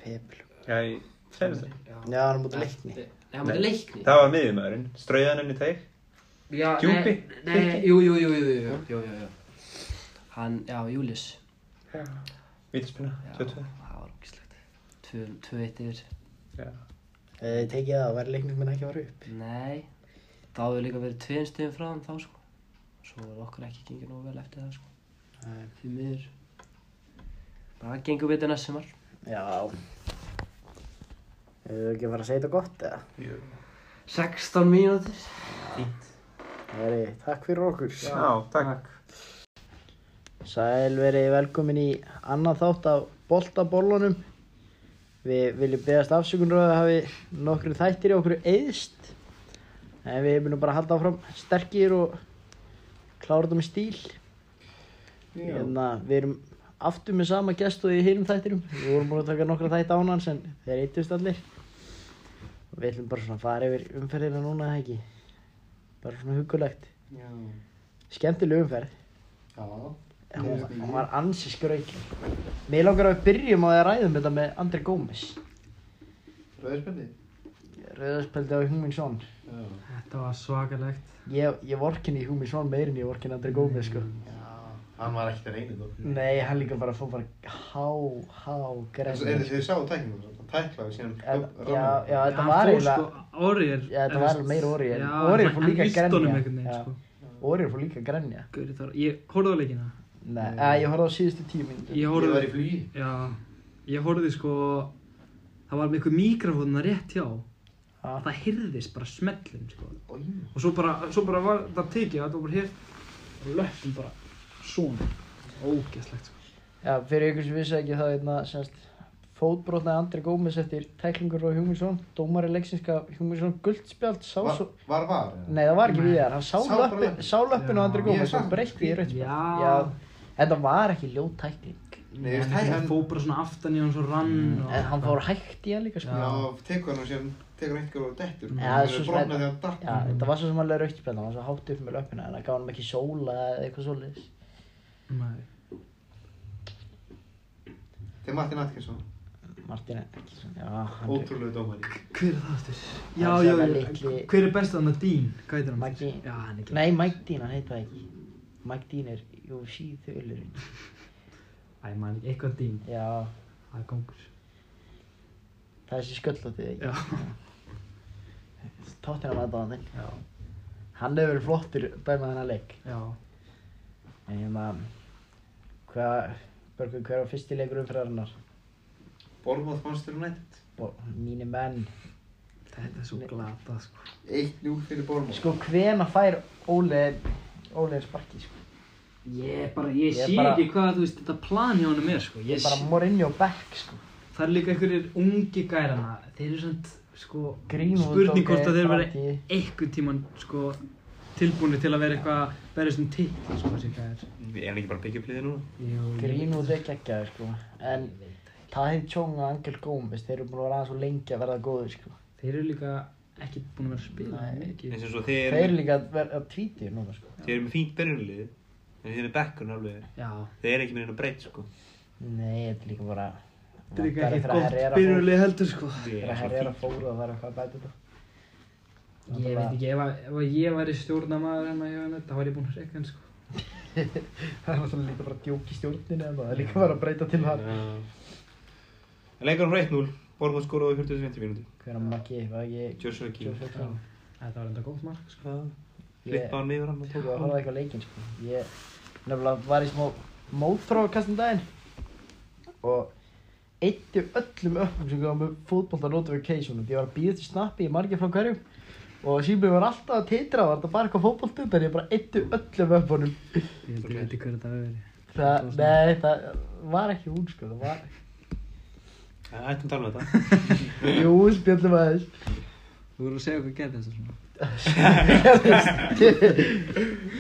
Speaker 1: Pepl.
Speaker 2: Já, í fremstu.
Speaker 1: Já, hann er móti leikni.
Speaker 3: Nei, hann var Leikni
Speaker 2: Það var miðjumæðurinn. Strauðan henni teik.
Speaker 3: Já, nei,
Speaker 2: Djúpi?
Speaker 3: Nei, jú, jú, jú, jú, jú, jú, jú, jú, jú. Hann, já, Július
Speaker 2: Vítaspinna,
Speaker 3: Já,
Speaker 2: 22.
Speaker 3: Það var ógislegt 2-1 yfir
Speaker 2: Já.
Speaker 1: Þegar þið Eh, tekið það, væri leiknir minn ekki að fara upp.
Speaker 3: Nei, þá hefur líka verið tveim stöðum frá þeim þá sko. Svo er okkur ekki gengið nógu vel eftir það sko.
Speaker 1: Nei.
Speaker 3: Því miður. Bara það gengur betur næst sumar.
Speaker 1: Já. Hefur þið ekki að fara að segja þetta gott, eða?
Speaker 3: 16 mínútur.
Speaker 1: Heri, takk fyrir okkur.
Speaker 2: Já, takk.
Speaker 1: Sæl verið velkomin í annan þátt af boltabollunum. Við viljum beðast afsökunar á að það hafi nokkru þættir í okkur eðst. En við munum bara halda áfram sterkir og klára þetta með stíl. Hérna, við erum aftur með sama gest og í hinum þættinum. Við vorum búin að taka nokkra þætti án hans en þeir eittust allir. Og Við ætlum bara svona að fara yfir umferðina núna, eða ekki? Bara svona hugulegt.
Speaker 3: Já.
Speaker 1: Skemmtileg umferð.
Speaker 3: Já.
Speaker 1: Hún hún var ansi skrautlið. Mér langar að við byrjum á því að ræðum þetta með Andri Gómez.
Speaker 4: Rauðspjaldi?
Speaker 1: Rauðarspeldi á Hungmin Són.
Speaker 4: Já.
Speaker 5: Þetta var svakalegt.
Speaker 1: Ég, ég vorkin í Hungmin Són meir en ég vorkin Andri Gómez sko.
Speaker 4: Hann var ekkert að reyna þó.
Speaker 1: Nei, hann líka bara fór bara há, há,
Speaker 4: En þið
Speaker 1: græn.
Speaker 4: þið sáu tækningum, hann tæklaði síðan
Speaker 1: Já, já, þetta
Speaker 5: Hann
Speaker 1: var
Speaker 5: fór
Speaker 1: eiginlega,
Speaker 5: Sko, Orrier.
Speaker 1: Já, þetta var alveg meira Orrier.
Speaker 5: Já,
Speaker 1: Orrier
Speaker 5: hann-
Speaker 1: fór líka að
Speaker 5: hann líst
Speaker 1: grenja.
Speaker 5: honum einhvern veginn,
Speaker 1: Já.
Speaker 5: sko.
Speaker 1: Orri fór líka að grenja.
Speaker 5: Gauri Þór. Ég horfði á leikina.
Speaker 1: Nei, eða ég horfði á síðustu tíu mínútur.
Speaker 5: Ég
Speaker 4: Ég var
Speaker 5: horfði,
Speaker 4: í flugi.
Speaker 5: já, ég horfði sko, það var með einhver mikrofónna rétt hjá.
Speaker 1: Já.
Speaker 5: Það hyrðist bara smellum, sko.
Speaker 4: Oj.
Speaker 5: Og svo bara, svo bara var það tekið, þetta var bara hér. Og löppum bara svona. Ógeðslegt, sko.
Speaker 1: Já, fyrir ykkur sem vissi ekki þá hérna, semst, fótbrotnaði Andri Gómez eftir tæklingur á Hungmin Són. Dómari leiksinska Hungmin Són guldspjald sá
Speaker 4: Var,
Speaker 1: svo...
Speaker 4: var var?
Speaker 1: Nei, það var ekki við þér, hann sá
Speaker 4: Sá bara
Speaker 1: löppin,
Speaker 4: löppin.
Speaker 1: sá löppin á
Speaker 5: Já.
Speaker 1: Andri
Speaker 4: Ég
Speaker 1: Gómez og
Speaker 4: sá.
Speaker 1: breytti í rauðspil.
Speaker 5: Já.
Speaker 1: Þetta var ekki ljót tækning,
Speaker 4: Nei, ég veist,
Speaker 5: hann,
Speaker 4: hann-
Speaker 5: hann fór bara svona aftan í hann svo rann. og-
Speaker 1: Mm, en hann fór hægt í hann líka, sko.
Speaker 4: Já, tekur hann og síðan tekur hann eitthvað og dettur.
Speaker 1: Já,
Speaker 4: Hann er
Speaker 1: svo sem-
Speaker 4: brotnað þegar hann datt.
Speaker 1: Já, þetta var svo sem alveg rauðspil, hann var svo hátt upp með löppina, en það gaf hann ekki sóla eða eitthvað svoleiðis.
Speaker 5: Nei.
Speaker 4: Þetta er Martin Atkinson,
Speaker 1: Martin Ekkilsson, já, hann
Speaker 4: ótrúlegu dómari.
Speaker 5: Hver er það aftur? Já,
Speaker 1: Hann
Speaker 5: já,
Speaker 1: sem er
Speaker 5: já,
Speaker 1: litli-
Speaker 5: hver er best að hann? Dín, hvað heitir hann?
Speaker 1: Mike Dean.
Speaker 5: Já, hann er ekki.
Speaker 1: Nei, Mike Dean, hann heit það ekki. Mike Dean er, jú, síðulurinn.
Speaker 5: Æ, mann, eitthvað Dín,
Speaker 1: Já,
Speaker 5: það er kongur.
Speaker 1: það er þessi sköllóttið,
Speaker 5: Já.
Speaker 1: ekki? Tóttina maður báðan,
Speaker 5: Já.
Speaker 1: hann hefur verið flottur dæmað hennar leik.
Speaker 5: Já.
Speaker 1: En hérna, hvað, Börgur, hver var fyrsti leikur umfraðarinnar?
Speaker 4: Bormóð Monster United.
Speaker 1: Mínu menn.
Speaker 5: Þetta er svo
Speaker 1: Nei.
Speaker 5: glata, sko.
Speaker 4: 1-0 fyrir Bormóð.
Speaker 1: Sko, hvena fær Óleir, Óleir sparki, sko?
Speaker 5: Ég bara, ég,
Speaker 1: Ég
Speaker 5: sé
Speaker 1: bara-
Speaker 5: ekki hvað, þú veist, þetta plan hjá honum er, sko. Ég,
Speaker 1: Ég bara
Speaker 5: sé-
Speaker 1: morinni á bekk, sko.
Speaker 5: Það er líka einhverjir ungi gærana, þeir eru svona, sko,
Speaker 1: Greenwood, ok,
Speaker 5: spurning hvort að þeir vera
Speaker 1: framtíð.
Speaker 5: einhvern tíman, sko, tilbúinir til að vera eitthvað, vera svona titl, sko, þessi gæðir.
Speaker 2: Við erum ekki bara byggjabliðið núna.
Speaker 5: Jú,
Speaker 1: Greenwood er geggjaður, sko. En Tahir Chong og Angel Gómez, þeir eru búin að vera aðeins og lengi að verða góðir, sko.
Speaker 5: Þeir eru líka ekki búin að vera að spila
Speaker 1: Nei.
Speaker 5: mikið.
Speaker 2: Eins og svo
Speaker 1: Þeir
Speaker 2: þeir
Speaker 1: eru
Speaker 2: eru,
Speaker 1: líka að vera að tvíti núna, sko.
Speaker 2: þeir eru með fínt byrjunlið. En þeir eru með bekkun alveg.
Speaker 5: Já,
Speaker 2: Þeir eru ekki með einu breytt sko.
Speaker 1: Nei, þetta er líka bara
Speaker 5: Þetta er
Speaker 1: Vantar
Speaker 5: ekki ekkert
Speaker 1: eftir að Herrera fór.
Speaker 5: gott byrjulið heldur sko.
Speaker 1: Það er herrera fóru og það er eitthvað að bæta þetta.
Speaker 5: Ég veit ekki, ef, að- ef að ég væri stjórnamaður hérna hjá henni, þá væri ég búinn að reyka henni sko.
Speaker 1: Það er náttúrulega líka bara djók í stjórninu en það er líka bara að breyta til hann.
Speaker 2: Leikur frá 1-0, Bormóð skoraði á 45 mínúti.
Speaker 1: Hver að makki, var ekki...
Speaker 2: Joshua King.
Speaker 1: Joshua King.
Speaker 5: Þetta var enda gótt mark sko.
Speaker 1: Ég-
Speaker 2: Flippa hann yfir hann og
Speaker 1: Ég
Speaker 2: tók
Speaker 1: var að
Speaker 2: hann.
Speaker 1: horfa eitthvað á leikinn sko. Ég nefnilega var í smá mótþrókast um daginn og eittu öllum öppum sem kom með fótbolta notificationum. Ég var að býða til snappi í margir frá hverjum og símið var alltaf að titra var þetta bara eitthvað fótbolta en ég bara eittu öllum öppunum.
Speaker 5: Ég held ég veit hver þetta hefur verið.
Speaker 1: Það, nei, það var ekki hún sko, það var...
Speaker 2: Það ættum að tala um þetta.
Speaker 1: Jú, spjöldum aðeins.
Speaker 5: Þú voru að segja okkur gerði þessu svona.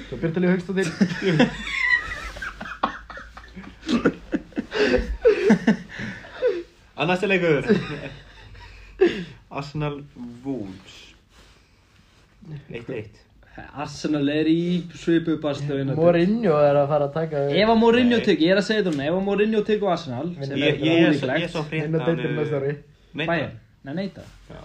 Speaker 1: Svo Björntalíu Haugstóttir
Speaker 2: Annars er leikur. Arsenal Wolves. 1-1.
Speaker 6: Arsenal er í svipu bastöðinu
Speaker 1: Mourinho er að fara að taka
Speaker 6: Ef að Mourinho
Speaker 2: Nei.
Speaker 6: tekur, ég er að segja þetta núna Ef að Mourinho tekur Arsenal sem
Speaker 1: Vinna-
Speaker 6: er
Speaker 2: Ég, ég, ég, ég
Speaker 6: ólíklegt Hérna
Speaker 2: svo frétt
Speaker 1: Vinna deildina næsta ári.
Speaker 6: Bæjar, nei neita
Speaker 2: Já.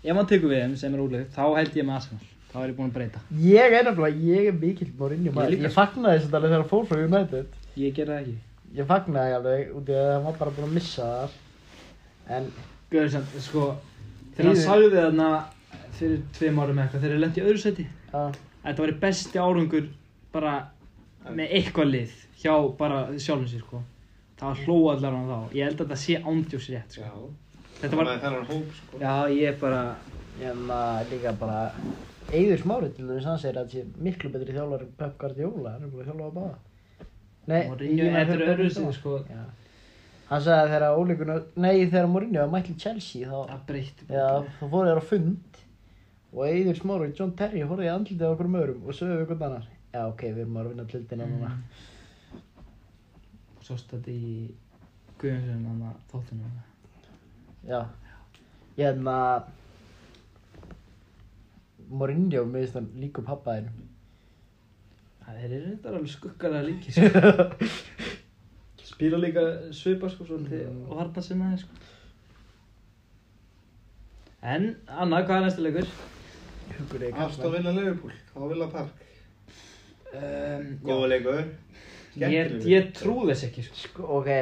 Speaker 6: Ef hann tekur við þeim sem er ólíklegt Þá held ég með Arsenal Þá er ég búinn að breyta
Speaker 1: Ég er náttúrulega, ég er mikill Mourinho maður
Speaker 6: líka,
Speaker 1: Ég fagnaði þessu alveg þegar hann fór frá United
Speaker 6: Ég ger það ekki
Speaker 1: Ég fagnaði alveg út í að hann var bara búinn að missa það En
Speaker 5: Gauðisand, sko, þegar hann
Speaker 1: Yfir.
Speaker 5: sagði við þarna fyrir tveim árum eitthvað, þegar hann lendi í öðru seti,
Speaker 1: að,
Speaker 5: þetta var besti árangur bara með eitthvað lið hjá bara sjálfum sér, sko. Það hló allar hann þá. Ég held að þetta sé ándjós rétt, sko.
Speaker 2: Já.
Speaker 5: Þetta var,
Speaker 2: Það er hóp, sko.
Speaker 5: já, ég bara,
Speaker 1: en að hérna, líka bara Eyður Smári til þess að hann segir að sé miklu betri þjálfari en Pep Guardiola Hann er búinn að þjálfa á báða Nei,
Speaker 5: Mourinho,
Speaker 1: ég meina
Speaker 5: þetta er
Speaker 1: þegar-
Speaker 5: öðru seti, sko.
Speaker 1: Já. Hann sagði að þegar ólíkun Nei, þegar Mourinho var mætt í Chelsea þá
Speaker 5: Það breytti. bara.
Speaker 1: Já, þá fóru þér á fund og Eidur Smári og John Terry horfði í andlitið á okkur öðrum og sögðu við hvern annar Já, ok, við erum að vinna tildina núna
Speaker 5: Svo stöndi í Guðjónsson, hann að þóttinu.
Speaker 1: Já Hérna, Ég hefna Mourinho, mér finnst hann líka um pappa þinn
Speaker 5: Það er reyndar alveg skuggalega líki, sko. Spila líka svipa, sko, svolítið og harta sinna þeir, sko. En, Anna, hvað er næsta leikur?
Speaker 1: Hugur eða
Speaker 2: Afstof
Speaker 1: kafla
Speaker 2: vilja Liverpool, á Villa Park.
Speaker 5: Um,
Speaker 2: Góða leikur.
Speaker 5: ég,
Speaker 2: Skemmtilegur.
Speaker 5: ég trú þess ekki, sko.
Speaker 1: sko, Ok,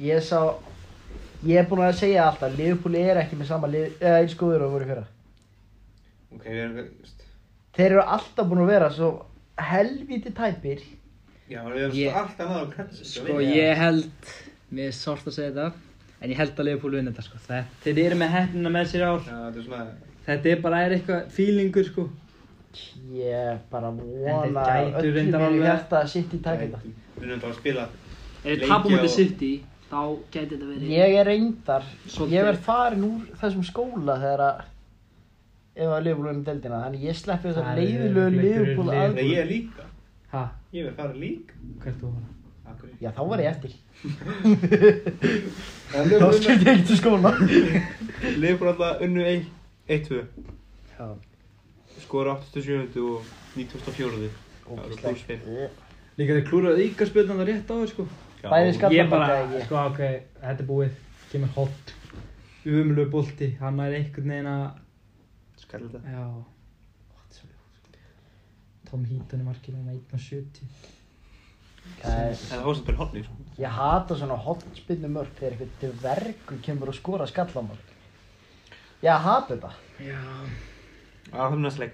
Speaker 1: ég sá Ég er búinn að segja alltaf Liverpool er ekki með sama lið eða eins góður og voru í fyrra
Speaker 2: Ok, við erum, veist,
Speaker 1: Þeir eru alltaf búin að vera svo helvíti tæpir
Speaker 2: já, við erum
Speaker 6: Ég-
Speaker 2: yeah. allt annað á kretsu.
Speaker 6: Sko ég held Mér er sárt að segja þetta En ég held að Leopold vinna þetta sko Þetta- Þeir eru með hættina með sér í ár
Speaker 2: Já, þetta er svona,
Speaker 6: Þetta er bara er eitthvað feelingur sko
Speaker 1: Ég bara
Speaker 5: En
Speaker 1: vona
Speaker 5: þeir
Speaker 1: að
Speaker 5: gætu
Speaker 1: öllum
Speaker 5: reyndar
Speaker 1: mér í
Speaker 5: alveg-
Speaker 1: hjarta að sitt í tækita
Speaker 2: við erum bara að spila.
Speaker 3: Ef við
Speaker 2: Leikja
Speaker 3: tapum
Speaker 2: og-
Speaker 3: út í City, þá gæti þetta verið
Speaker 1: Ég er reyndar,
Speaker 3: Svolítið.
Speaker 1: ég verð farin úr þessum skóla þegar að ef að Liverpool er um deildina, þannig ég sleppi þessar
Speaker 5: Það er
Speaker 1: leiðilegu
Speaker 5: leikur-
Speaker 1: Liverpool
Speaker 5: leikur-
Speaker 1: að
Speaker 2: Nei, ég er líka.
Speaker 5: Ha,
Speaker 2: Ég vil fara líka.
Speaker 5: hvert þú var?
Speaker 2: Akkur.
Speaker 1: Já, þá var ég eftir.
Speaker 2: En
Speaker 1: Þá
Speaker 2: Liverpool
Speaker 1: skildi ég ekki til skóla.
Speaker 2: Liverpool alltaf unnu 1-2.
Speaker 1: Já,
Speaker 2: Skora 87. og 94. Það eru pluss fimm.
Speaker 5: Líka þeir klúraði ykkar rétt á þér, sko.
Speaker 2: Já,
Speaker 1: Bæði skall-
Speaker 5: Ég bara,
Speaker 1: Ég-
Speaker 5: sko, ok, þetta er búið. Kemur hot. Umlu bolti, hann er einhvern veginn að,
Speaker 2: Skall þetta.
Speaker 5: já. Tom Heaton er markinu með 1.70.
Speaker 2: Það er það sem byrja hotni, sko.
Speaker 1: Ég hata svona hotspinnu mörg þegar eitthvað dvergur kemur og skora skallamörg. Ég hata þetta.
Speaker 2: Það er það næst leik.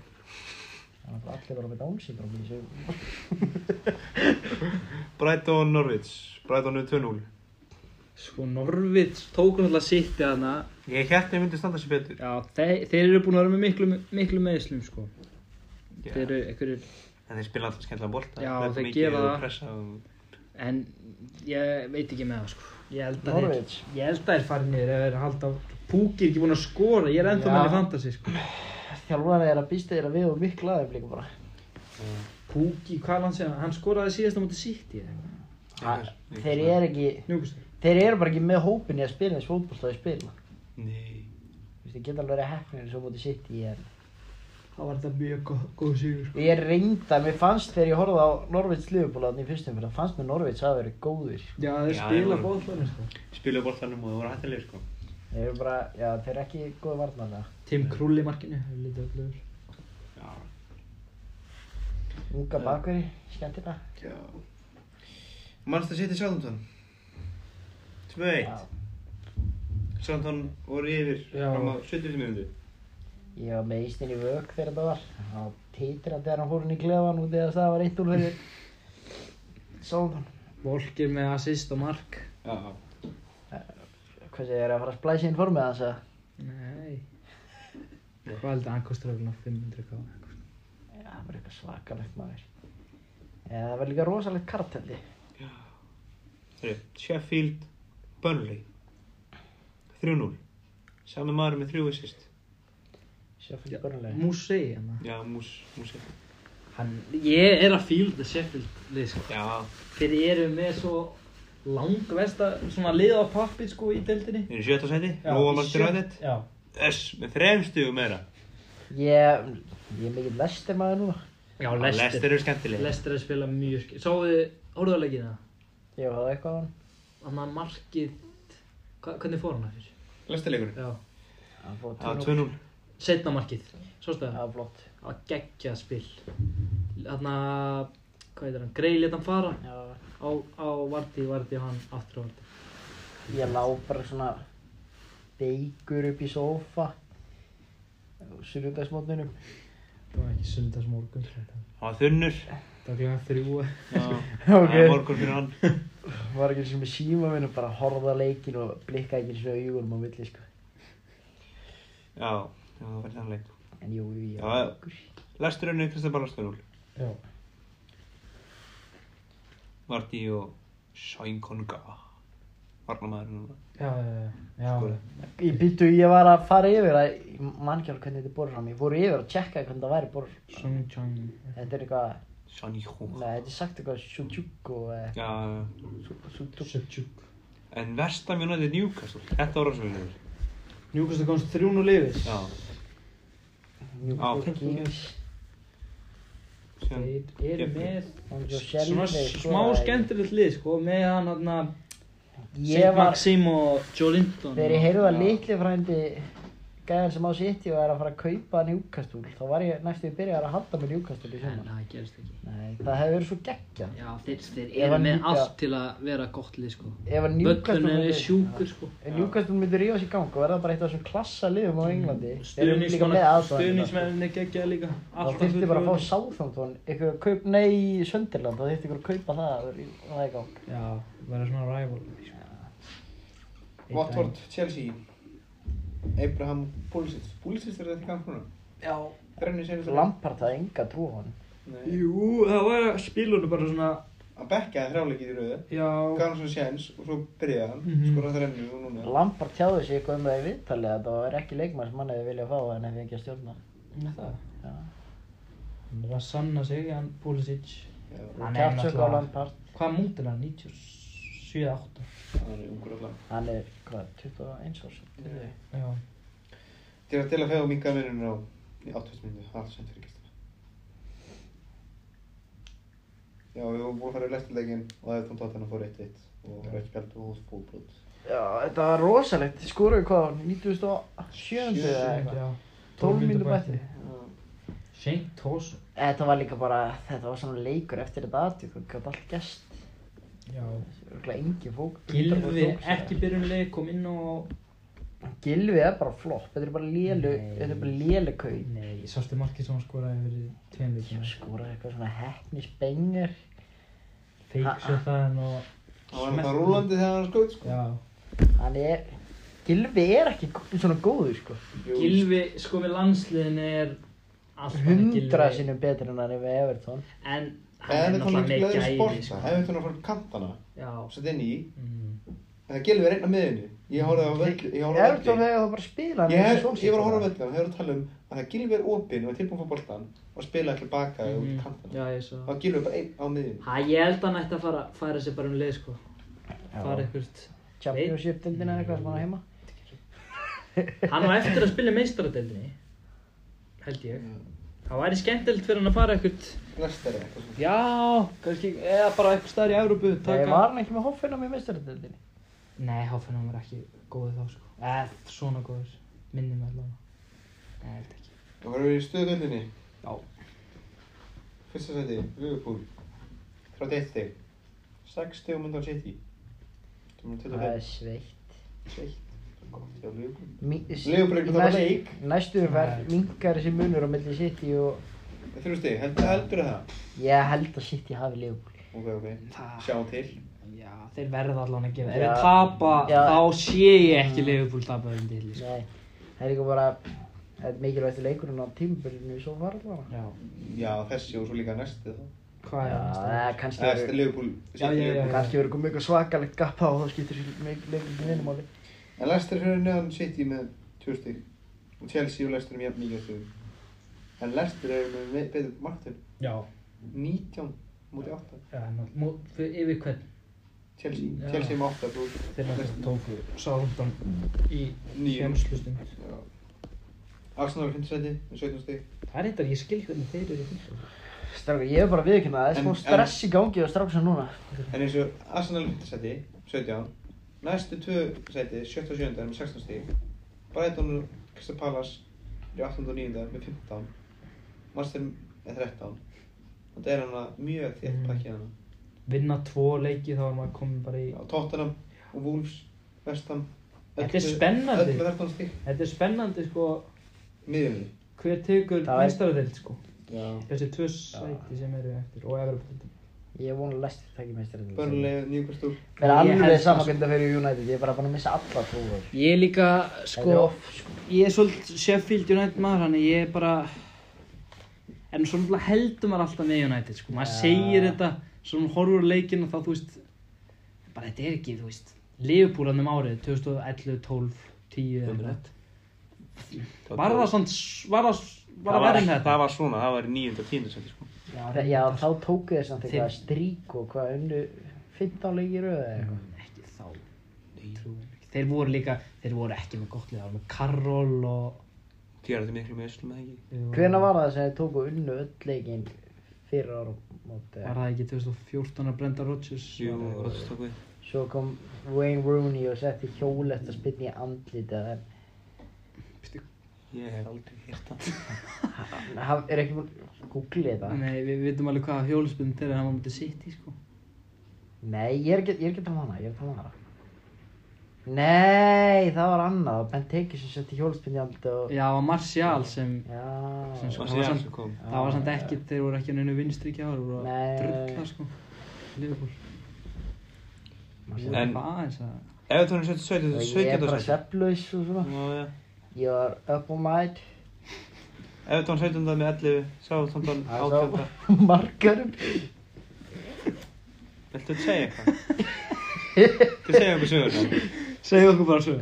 Speaker 1: Þannig að allir verða með dánsýndrómi í sig.
Speaker 2: Brighton Norwich. Brighton er 2-0.
Speaker 6: Sko Norvits tók náttúrulega sitt í hana
Speaker 2: Ég held að ég myndi standa sér betur.
Speaker 6: Já, þeir, þeir eru búin að vera með miklu, miklu meðslum sko
Speaker 2: Já.
Speaker 6: Þeir eru einhverjir
Speaker 2: En þeir spila alltaf skemmtilega bolta.
Speaker 6: Já,
Speaker 2: Leggja
Speaker 6: þeir
Speaker 2: mikið
Speaker 6: gera
Speaker 2: og
Speaker 6: það.
Speaker 2: pressa og-
Speaker 6: En ég veit ekki með það sko
Speaker 5: Ég held að þeir,
Speaker 1: Norwich.
Speaker 5: ég held að þeir farið niður ef þeir halda Púki er ekki búinn að skora, ég er
Speaker 1: Já.
Speaker 5: ennþá með henni fantasy sko
Speaker 1: Þjálfana er að býsta þeirra við og miklu aðeins líka bara.
Speaker 5: Púki, hvað er hann segja, hann skoraði síðast á móti City eða eitthvað
Speaker 1: Ha,
Speaker 2: Ég-
Speaker 1: Þeir eru ekki,
Speaker 5: Njúkustur
Speaker 1: þeir eru bara ekki með hópinni að spila eins fótbollstæði spila.
Speaker 2: Nei.
Speaker 1: Þú veist, ég get alveg verið hefnir eins og móti sitt í en
Speaker 5: þá var þetta mjög gó- góð sigur sko.
Speaker 1: Ég reynda, mér fannst þegar ég horfði á Norveits liðbúlaðan í fyrstum fyrir, fannst mér Norveits að vera góðir.
Speaker 5: Já, þeir
Speaker 2: Já,
Speaker 5: spila
Speaker 2: þeir voru-
Speaker 5: bóðfæðin sko.
Speaker 2: Spila boltanum og það voru hættilegir sko.
Speaker 1: Þeir eru bara, já, þeir eru ekki góði varnarlega.
Speaker 5: Tim Krulli markinu, það er lítið öllur
Speaker 2: Já.
Speaker 1: Unga bakveri, skemmtilega.
Speaker 2: Já. Manchester City Southampton. 2-1.
Speaker 1: Já.
Speaker 2: Southampton voru yfir
Speaker 5: Já.
Speaker 2: fram á 70 minúti.
Speaker 1: Ég var með ístinn í vök þegar þetta var. Það var títra þegar hann fór hann í klefan út eða það var eitt úr fyrir. Sólmann.
Speaker 5: Volker með assist og mark
Speaker 2: Já.
Speaker 1: Hvað segir, er að fara að splæsa inn formið hans að?
Speaker 5: Nei Hvað heldur hann kostur öfnum 500 ká
Speaker 1: Já, það var eitthvað svakalegt maður. Eða það var líka rosalegt kartelli.
Speaker 2: Herru, Sheffield Burnley. 3-0. Sami maður með þrjú assist.
Speaker 1: Sjöfnir börnulega.
Speaker 5: Musei hann
Speaker 2: Já, mús, mús.
Speaker 5: Hann, ég er að fíla þetta Sheffield lið sko
Speaker 2: Já,
Speaker 5: Þeir eru með svo langvesta svona lið á pappi sko í deildinni
Speaker 2: þeir eru í sjötta sæti.
Speaker 5: Já,
Speaker 2: Nóa
Speaker 5: í
Speaker 2: Manchester
Speaker 5: sjö-
Speaker 2: United.
Speaker 5: Já,
Speaker 2: S, með þrem stugum meira.
Speaker 1: Ég, ég er mikill lestir maður núna.
Speaker 5: já
Speaker 2: Lester
Speaker 5: Lester
Speaker 2: eru skemmtileg.
Speaker 5: Lester er að spila mjög skil Sáðu þið orðulegina?
Speaker 1: Ég hafði eitthvað á hann.
Speaker 5: Þannig að markið hva, Hvernig fór hann að fyrir?
Speaker 2: Lester leikur.
Speaker 5: Já
Speaker 1: Hann fór
Speaker 2: Já,
Speaker 1: 2-0.
Speaker 2: 2-0.
Speaker 5: Setna markið Sástu það?
Speaker 1: Það var flott.
Speaker 5: Það var geggjað spil Þarna, hvað heitir hann, Grey let hann fara
Speaker 1: Já,
Speaker 5: á, á Vardí, Vardí og hann aftur á Vardí
Speaker 1: ég lá bara svona beigur upp í sófa. Sunnudagsmótnunum.
Speaker 5: Það var ekki sundags morgun
Speaker 2: Það var þunnur.
Speaker 5: Það var klæðan þrjú
Speaker 2: Já.
Speaker 1: Ok.
Speaker 2: Það er morgun fyrir hann.
Speaker 1: var ekki eins og með síma minn og bara horfða leikin og blikka ekki eins og augunum á milli sko.
Speaker 2: Já, já það var þannig leik.
Speaker 1: En jú, jú, já.
Speaker 2: Já, Lestur önnu Kristján Ballastur úr.
Speaker 5: Já
Speaker 2: Vardí og Sjænkonga. Varnamæður núna.
Speaker 5: Já, já, já
Speaker 7: Sko.
Speaker 2: Skoraði.
Speaker 1: Ég býttu, ég var að fara yfir að, ég man ekki alveg hvernig þetta er borður fram, ég fór yfir að tjekka hvernig það væri borður.
Speaker 5: Sung Chang
Speaker 1: Þetta er eitthvað,
Speaker 2: Sjænkonga.
Speaker 1: neða, þetta er sagt eitthvað sjúkjúk og eh,
Speaker 2: Já, já.
Speaker 1: sjúkjúk.
Speaker 5: Sukchuk
Speaker 2: en Vestam United Newcastle. Þetta var rosalega leikur.
Speaker 5: Newcastle komst þrjún og lifis
Speaker 2: Já.
Speaker 1: Newcastle Kings,
Speaker 2: Síðan,
Speaker 5: Þeir eru
Speaker 2: Ég-
Speaker 5: með
Speaker 1: hann svo sko,
Speaker 5: svona
Speaker 1: sjálfur.
Speaker 5: s- smá skemmtilegt lið sko með hann hann að
Speaker 1: Ég var,
Speaker 5: Maxim og
Speaker 7: Joe Linton
Speaker 1: þegar ég heyrði að litli frændi gæðan sem á sitt og er að fara að kaupa Newcastle, þá var ég næstu í byrjar að halda með Newcastle í
Speaker 7: En
Speaker 1: sumar.
Speaker 7: það gerst ekki
Speaker 1: Nei, það hefur verið svo geggjað.
Speaker 7: Já, þeir, þeir
Speaker 1: Ég
Speaker 7: eru
Speaker 1: var
Speaker 7: með
Speaker 1: líka-
Speaker 7: allt til að vera gott lið sko
Speaker 1: Ef að Newcastle
Speaker 7: Böllun er
Speaker 1: myndi-
Speaker 7: sjúkur sko
Speaker 1: En Newcastle myndir ríða sér gang og verða bara eitt af þessum klassa liðum á Englandi Þeir eru líka með aðsvæðan
Speaker 5: stuðnismenninni geggjaði líka
Speaker 1: Þá
Speaker 5: Alltaf
Speaker 1: þurfti bara að
Speaker 5: fullur.
Speaker 1: fá Southampton ykkur að kaup, nei, Sönderland þá þurfti ykkur að kaupa það að rí- að það er í gang
Speaker 5: Já, vera svona sko. rival
Speaker 2: Watford, Chelsea Abraham Pulisic Pulisic er þetta í gang núna? Já Þrenni senast
Speaker 1: Lampard það enga trú á hann
Speaker 2: Nei
Speaker 5: Jú, það var að spilunum bara svona
Speaker 2: Hann bekkaði þrjáleikið í rauðu
Speaker 5: Já,
Speaker 2: Gaf hann svo séns og svo byrjaði hann
Speaker 5: Mhm.
Speaker 2: Skoraði þrennu og núna
Speaker 1: Lampard tjáði sig eitthvað um það í viðtalið að það var ekki leikmann sem hann hefði viljað fá en hefði ekki að stjórna
Speaker 5: það
Speaker 1: Já.
Speaker 5: Hann er að sanna sig, hann Pulisic
Speaker 2: Já,
Speaker 5: Hann er
Speaker 1: Kjátsök á
Speaker 5: náttúrulega-
Speaker 1: Lampard
Speaker 5: Hvað mútið er hann? 97, 8
Speaker 2: Hann er ungur allan
Speaker 1: Hann er, hvað, 21 árs
Speaker 2: Já.
Speaker 5: Já,
Speaker 2: Til að til að fega minga vinnunum á Í 80 minnum, allt sem fyrir gestina Já, við vorum búin að fara í lestuleikin og það er tónt að hann fór 1-1 og rautt spjald og fólkbrot
Speaker 1: Já, þetta var rosalegt, skoruðu hvað, 97. eða eitthvað,
Speaker 5: já
Speaker 1: 12 minnum eftir
Speaker 5: Seint tós
Speaker 1: Þetta var líka bara, þetta var svona leikur eftir þetta aðtíð, þú gæti allt gæst.
Speaker 5: Já
Speaker 1: Örgulega engin fók.
Speaker 5: Gilfi ekki byrjunlega kom inn og
Speaker 1: Gilvi er bara flopp, þetta er bara lélu,
Speaker 5: Nei.
Speaker 1: þetta er bara lélukau.
Speaker 5: Nei, sástu markið sem hann skoraði fyrir tveim
Speaker 1: Ég
Speaker 5: leikina
Speaker 1: skoraði eitthvað svona heppnisbengur.
Speaker 5: Fake sér það en og
Speaker 2: Það var náttúrulega rúlandi þegar hann skoði sko
Speaker 5: Já
Speaker 1: Hann er, Gilvi er ekki gó- svona góður sko.
Speaker 2: Jú,
Speaker 5: Gilfi, sko með landsliðin er alltaf
Speaker 1: Hundra sinnum betur en hann er við Everton.
Speaker 5: En
Speaker 2: Eða
Speaker 5: hann er
Speaker 2: þetta kom ekki
Speaker 5: náttúrulega
Speaker 2: leður
Speaker 5: með gæði
Speaker 2: sporta,
Speaker 5: sko.
Speaker 2: hefði þetta að fara kantana
Speaker 5: Já
Speaker 2: og setja inn í,
Speaker 5: mm.
Speaker 2: en það gilfið er einn á miðinu. Ég horfði á völdu, ég horfði á
Speaker 1: Everton
Speaker 2: völdu.
Speaker 1: hefur það bara að spila hann.
Speaker 2: Ég,
Speaker 1: eins
Speaker 2: hef,
Speaker 1: og
Speaker 2: ég var að horfa á
Speaker 1: Solskjaer.
Speaker 2: völdu, það hefur að tala um að það gilfið er opinn og er tilbúin fyrir boltan og spila allir baka mm. út kantana.
Speaker 5: Mhm. Já, ég svo
Speaker 2: Það gilfið bara einn á miðinu.
Speaker 5: Hæ, ég held að hann ætti að fara, færa sér bara um leið sko Fara ykkurt
Speaker 1: Championship dildina eða eitthvað sem hann á heima. Mm.
Speaker 5: Hann var eftir að spila meistaradeldinni Held ég Það væri skemmtilegt fyrir hann að fara ekkert
Speaker 4: Næst er eitthvað svona.
Speaker 5: Já, kannski, eða bara eitthvað staðar í Európu
Speaker 1: Nei, var hann ekki með hoffina með meistaröldinni?
Speaker 5: Nei, Hoffenheim var ekki góðið þá sko Eða, svona góður, minnum allavega Nei, ég held ekki
Speaker 4: Það verður við í stöðutöldinni.
Speaker 5: Já.
Speaker 4: Fyrsta seti, Liverpool. 31 stig. 6 stig mundan City. Það er
Speaker 1: Það er
Speaker 4: 25.
Speaker 1: sveitt.
Speaker 4: Gott hjá Liverpool.
Speaker 1: Mí- s-
Speaker 4: Liverpool er
Speaker 1: í
Speaker 4: ekki að tapa
Speaker 1: næst-
Speaker 4: leik.
Speaker 1: Næstu umferð minkar þessi munur á milli City og
Speaker 4: Það er 3 stig, heldur, heldur það?
Speaker 1: ég held að City hafi Liverpool.
Speaker 4: Ok, ok.
Speaker 5: Það,
Speaker 4: Sjáum til.
Speaker 5: já, þeir verða allavega að gera það Ef
Speaker 1: Já.
Speaker 5: þeir tapa,
Speaker 1: Já. Mm.
Speaker 5: þá sé ég ekki Liverpool tapa um til sko.
Speaker 1: Nei, það er líka bara það er mikilvægt leikurinn á tímabölinu svo var allavega.
Speaker 5: Já,
Speaker 4: Já, þessi og svo líka næsti þá.
Speaker 5: hvað er
Speaker 1: Já,
Speaker 5: næsta?
Speaker 1: það er kannski
Speaker 4: Eða,
Speaker 1: verið
Speaker 4: Liverpool.
Speaker 5: Já, já, já.
Speaker 1: kannski verið komið eitthvað svakalegt gappa og það skiptir leikurinn í vinnumáli.
Speaker 4: En Leicester fyrir neðan City með 2 stig. Og Chelsea og Leicester með jafn mikið stig. En Leicester eru með me- betur marktölu.
Speaker 8: Já,
Speaker 4: 19 múti 8.
Speaker 8: já, ná- mú- fyrir- yfir hvern
Speaker 4: Chelsea,
Speaker 8: Já.
Speaker 4: Chelsea með 8 brúið.
Speaker 8: þeir náttúrulega tóku Southampton í
Speaker 4: Níu.
Speaker 8: kemslustund
Speaker 4: Já. Arsenal finnst seti með 17 stík.
Speaker 8: Það er eitthvað, ég skil ekki hvernig þeir eru í þessu
Speaker 1: Strákar, ég er bara að viðkynna það,
Speaker 4: En-
Speaker 1: það er
Speaker 4: en-
Speaker 1: smá stress í gangi og strákar sem núna.
Speaker 4: En eins og Arsenal finnst seti, 17. Næstu tvö seti, 7. og 7. með 16 stík. Brighton og Crystal Palace eru 18. og 9. með 15. Master með 13. Og það er hann að mjög þétt
Speaker 5: Mm.
Speaker 4: pakkið hérna. hann.
Speaker 5: Vinna tvo leiki, þá er maður komin bara í
Speaker 4: Já, Tottenham og Wolves, Vestham.
Speaker 5: Þetta er spennandi.
Speaker 4: Öll með 13 stík.
Speaker 5: Þetta er spennandi sko,
Speaker 4: Miðjumni.
Speaker 5: hver tekur
Speaker 1: Það er-
Speaker 5: mestaradild sko
Speaker 4: Já.
Speaker 5: Þessi tvö sæti sem eru eftir og Evropadeildin
Speaker 1: Ég er vonað lest að taka meistaröldinni.
Speaker 4: Börnlega, Newcastle.
Speaker 1: Það er
Speaker 5: Ég held
Speaker 1: alveg
Speaker 5: það,
Speaker 1: samankönda fyrir United, ég er bara búin að missa alla trúar.
Speaker 5: Ég er líka,
Speaker 1: Þetta er off, sko.
Speaker 5: ég er svolítið Sheffield United maður þannig ég er bara en svona heldur maður alltaf með United sko. maður
Speaker 1: Ja.
Speaker 5: segir þetta svona horfur leikin og þá þú veist bara þetta er ekki þú veist Liverpool hann um árið 2011, 12, 10 eða eitthvað. var það svona var það var það verið en þetta
Speaker 2: Það var svona, það var í níunda og tíunda seti sko.
Speaker 1: Það- Já, þá tóku þeir samt eitthvað
Speaker 5: Þeir-
Speaker 1: strík og hvað unnu 15 leikir röð eða eitthvað.
Speaker 5: ekki þá Trúi mér ekki. þeir voru líka þeir voru ekki með gott lið það var með Karol og
Speaker 2: Gerðu þetta miklu með öslum eða ekki?
Speaker 5: Mm.
Speaker 1: Hvena var það sem þeir tóku unnu öll leikin fyrir ára móti?
Speaker 5: var það ekki 2014 að Brenda Rodgers
Speaker 2: Jú,
Speaker 5: eh,
Speaker 2: Rodgers tók við.
Speaker 1: Svo kom Wayne Rooney og setti hjólest að spynni í andlitið en
Speaker 2: Ég hef aldrei hirt það.
Speaker 1: hann er ekki búinn að googla þetta.
Speaker 5: Nei, við vitum alveg hvað hjóluspinn þeirra hann var mútið sitt í sko
Speaker 1: Nei, ég er ekki, ég er ekki að tala um hana, ég er að tala um hana. Nei, það var annað, Ben Tekis sem setti hjólspinn í andlitið og...
Speaker 5: Já, það var Martial sem, sem
Speaker 1: Já,
Speaker 5: sko,
Speaker 2: Og
Speaker 5: það var
Speaker 2: síðan
Speaker 5: samt,
Speaker 2: sem kom.
Speaker 5: það var samt ekki, þeir voru ekki á neinu vinstri ekki ára, voru að
Speaker 1: Nei.
Speaker 5: drulla sko Liverpool,
Speaker 1: maður sér.
Speaker 5: það
Speaker 2: En-
Speaker 5: var aðeins að
Speaker 2: Evertón er 17.
Speaker 1: Og ég er
Speaker 2: 17.
Speaker 1: bara
Speaker 2: seti.
Speaker 1: sveflaus og svona.
Speaker 2: Nú, já.
Speaker 1: Ég var up all night.
Speaker 2: Evertón 17. með 11. Sáþondon
Speaker 1: Það er
Speaker 2: 18.
Speaker 1: sá margarum.
Speaker 2: Viltu að segja eitthvað? Viltu segja eitthvað sögur?
Speaker 5: Segðu okkur bara svo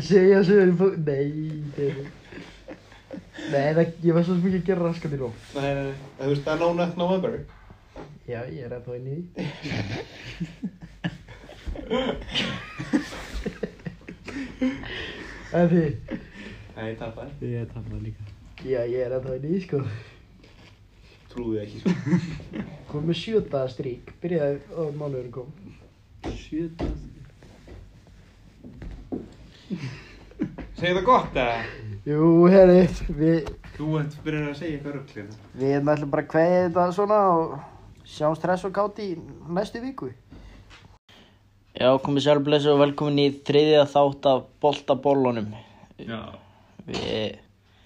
Speaker 1: Segja sögur í fólk. Nei, nei. Nei, það, ég var svo mikið að gera raskat í róm.
Speaker 4: Nei, nei, nei. Þú veist, það er no net November.
Speaker 1: Já, ég er að þá inn í því. En því,
Speaker 2: Nei, tapar.
Speaker 5: Ég tapaði líka
Speaker 1: já, ég er að þá inn í því, sko.
Speaker 4: Trúðu ekki, sko.
Speaker 1: Komum með sjöta strík, byrjaði og mánuðurinn kom.
Speaker 5: Sjöta
Speaker 2: Segðu það gott eða?
Speaker 1: Jú, herri, við,
Speaker 2: Þú ert byrjar að segja eitthvað hérna. rugglina.
Speaker 1: við erum ætlum bara að kveðja þetta svona og sjáum stress og kátt í næstu viku. Já, komið sjálfblessu og velkomin í þriðja þátt af boltabólunum.
Speaker 2: Já.
Speaker 1: Við...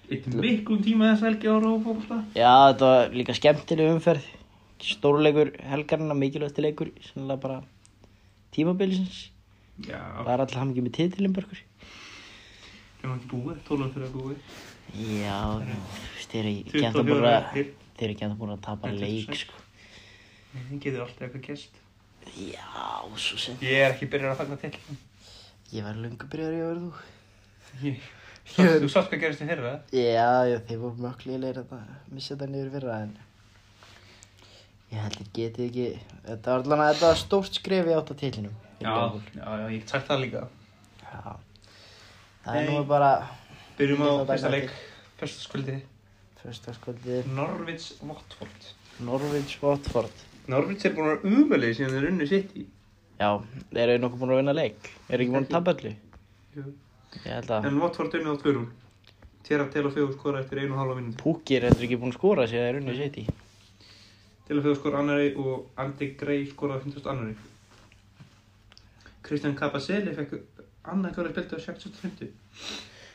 Speaker 2: Eitt miklum tíma þess helgi ára og fólkla.
Speaker 1: Já, þetta var líka skemmtileg umferð Stórleikur helgarna, mikilvægsti leikur Sannlega bara tímabilisins
Speaker 2: Já.
Speaker 1: Það er alltaf hamingi með titilin börkur
Speaker 2: Ég var ekki búið, 12 fyrir að búið.
Speaker 1: Já, þú veist, þeir eru ekki
Speaker 2: 24
Speaker 1: ennþá búin að
Speaker 2: eftir.
Speaker 1: Þeir eru ekki ennþá búin að tapa
Speaker 2: Þetta er
Speaker 1: leik
Speaker 2: sætt.
Speaker 1: sko.
Speaker 2: Það getur alltaf eitthvað gæst.
Speaker 1: Já, svo sem
Speaker 2: Ég er ekki byrjar að fagna til.
Speaker 1: Ég var lungu byrjar í að vera þú
Speaker 2: Ég- Sást- Þú sátt hvað gerist í fyrra?
Speaker 1: Já, já, þeir voru mjög lélegir að missa þetta niður fyrra en Ég held ég getið ekki Þetta var allan að þetta var stórt skref í átta tilinum
Speaker 2: já, já, ég get sagt það líka.
Speaker 1: já. Það er
Speaker 2: Nei.
Speaker 1: nú bara
Speaker 2: Byrjum
Speaker 1: Ég
Speaker 2: á
Speaker 1: get það
Speaker 2: fyrsta
Speaker 1: dæmi
Speaker 2: leik, fyrsta skvöldi.
Speaker 1: Föstaskvöldið
Speaker 2: Norvits Votford
Speaker 1: Norvins Votford
Speaker 2: Norvits er búin að vera umölu síðan þeir unnu sitt í
Speaker 1: Já, eru þið nokkuð búin að vinna leik? Eru ekki búin að tapa öllu?
Speaker 2: Jú.
Speaker 1: Ég held að
Speaker 2: en Votford unni á tvörum Tjera til og fjögur skora eftir einu og hálfa mínúti
Speaker 1: Pukki er heldur ekki búin að skora sér það er unni sitt í
Speaker 2: til að fjóða skor annari og Andy Gray skoraði 50 annari Kristján Kapaseli fekk annað góra spiltu á 650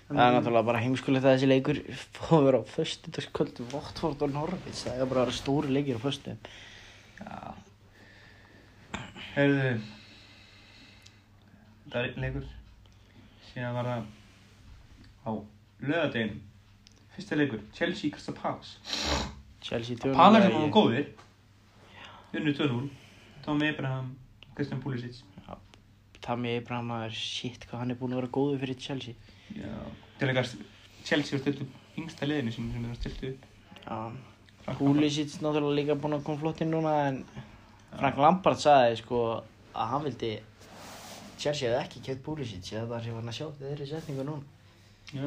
Speaker 1: Það er náttúrulega bara heimskulegt að þessi leikur fóðu að vera á föstudagskvöldu Votford og Norvins, það er bara að vera stóri leikir á föstudum
Speaker 2: Heyrðu Það er einn leikur síðan var það á lögadegin fyrsta leikur, Chelsea Krista Palace
Speaker 1: Chelsea
Speaker 2: Palace sem var góðir unnu 2-0 Tom Abraham, Kristján Pulisic
Speaker 1: Tammy Abraham er shit hvað hann er búin að vera góður fyrir Chelsea
Speaker 2: Já. til að Chelsea var stilt upp yngsta leiðinu sem, sem þeir var stilt upp
Speaker 1: Já,
Speaker 2: Frank
Speaker 1: Pulisic náttúrulega líka búin að koma flott inn núna en Frank Lampard sagði sko að hann vildi Chelsea hefði ekki keitt Pulisic eða það sem hann að sjá þeirri setningu núna
Speaker 2: Já.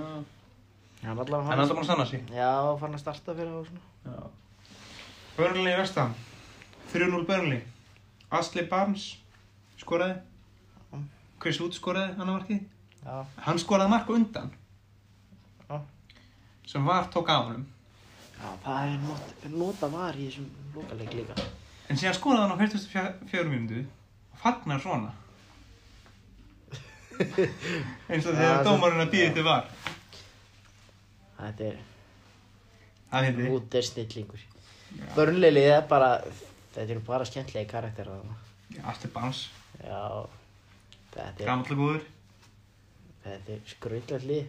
Speaker 1: Hann allavega
Speaker 2: hann er alltaf búin að sanna sig
Speaker 1: Já, fann að starta fyrir það og svona
Speaker 2: Burnley vestam 3-0 Burnley Asli Barnes skoraði Chris Wood skoraði hann að marki
Speaker 1: Já.
Speaker 2: hann skoraði mark á undan
Speaker 1: Já.
Speaker 2: sem var tók á honum
Speaker 1: Já, það er not, nota var í þessum lokaleik líka
Speaker 2: en síðan skoraði hann á 44 mínútu og fagnar svona eins og
Speaker 1: Já,
Speaker 2: þegar
Speaker 1: það-
Speaker 2: dómarinn að býði þetta var
Speaker 1: Þetta er
Speaker 2: það hérna. hefði
Speaker 1: út er snillingur Börnleilið er bara þetta eru bara skemmtlegi karakterar þarna
Speaker 2: Asli Barnes
Speaker 1: Já Þetta er,
Speaker 2: gamall og góður
Speaker 1: þetta er skröldlega lið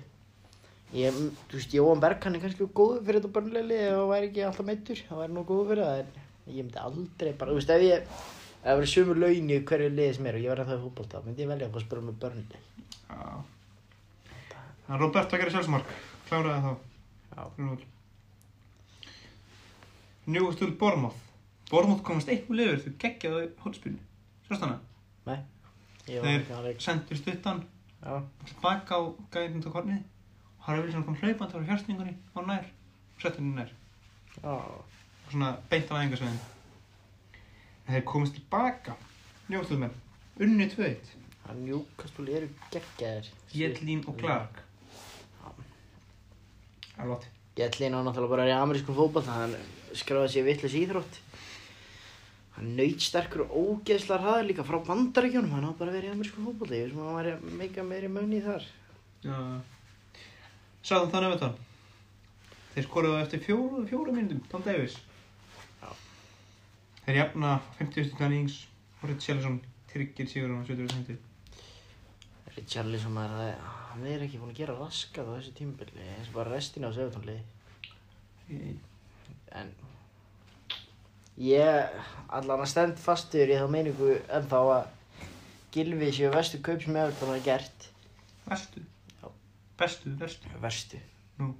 Speaker 1: Ég, þú veist, Jóhann Berg hann er kannski góður fyrir þetta börnleilið ef hann væri ekki alltaf meittur hann væri nú góður fyrir það en ég myndi aldrei bara, þú veist, ef ég ef það verið sömu laun í hverju liði sem er og ég verði það í fútbolta myndi ég velja að fá að spila með börnleilið
Speaker 2: Já. Hann Robert að gera sjálfsmark, kláraði þá.
Speaker 1: Já.
Speaker 2: 3-0. Newcastle Bournemouth. Bournemouth komast eitthvað lifur þegar geggjaðu hólspilni. Sjást hana?
Speaker 1: Ég var ekki að
Speaker 2: Þeir
Speaker 1: leik
Speaker 2: sendu stuttan
Speaker 1: Já.
Speaker 2: tilbaka á gæðin til kornið. Og Harry Wilson kom hlaupandi á hjársningunni á nær. og Setti henni nær.
Speaker 1: Já.
Speaker 2: Og svona beint á æfingasvæðin. Þeir komast tilbaka. Newcastle menn. Unni 2-1.
Speaker 1: Hann Newcastle eru geggjaðir.
Speaker 2: Jetlín og Clark. Það er lott.
Speaker 1: Jellin á náttúrulega bara í amerískum fótball, hann skráði sér vitlis íþrótt. Hann naut sterkur og ógeðslar hraður líka frá bandaríkjónum, hann á bara verið í amerískum fótball, ég veist maður að væri meika meiri mögni þar.
Speaker 2: Já. Sáðan þannig að þetta. Þeir skoruðu eftir fjóru, fjóru myndum, Tom Davis.
Speaker 1: Já.
Speaker 2: Þeir jafna 50. kannings, Horrit Sjálfsson, Tryggir Sigurðan og 70. sendi.
Speaker 1: Richarlison maður, það er- hann er ekki búin að gera raskað á þessu tímbili, eins og bara restin á sefutónliði. En ég allan að stend fastur í þá meiningu ennþá að Gylfi séu vestu kaup sem Everton hafa gert.
Speaker 2: Bestu.
Speaker 1: Já.
Speaker 2: Bestu, bestu.
Speaker 1: verstu
Speaker 2: Nú.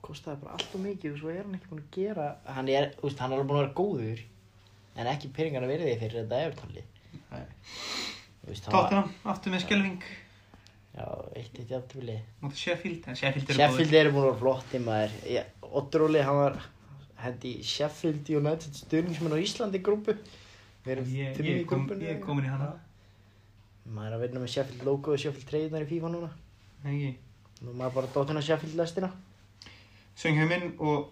Speaker 1: kostaði bara alltaf mikið og svo er hann ekki búinn að gera hann er, úst, hann er alveg búinn að vera góður en ekki peningar að verði fyrir þetta eftalli
Speaker 2: Nei.
Speaker 1: Úst,
Speaker 2: Tottenham, aftur með skelving.
Speaker 1: já, eitt eitt jafntefli
Speaker 2: Mótið Sheffield, en Sheffield er
Speaker 1: Sheffield eru búin að vera flott í maður Ég- Oddur Óli, hann var hendi í Sheffield United stuðningsmenn á Íslandi grúpu við erum
Speaker 2: Ég,
Speaker 1: fimm
Speaker 2: ég,
Speaker 1: í
Speaker 2: kom,
Speaker 1: grúpunni
Speaker 2: ég er komin í hana.
Speaker 1: maður er að vinna með Sheffield logo og Sheffield treyðunar í FIFA núna
Speaker 2: Nei, ekki.
Speaker 1: nú er maður bara dóttinn á Sheffield lestina
Speaker 2: Söngjum inn og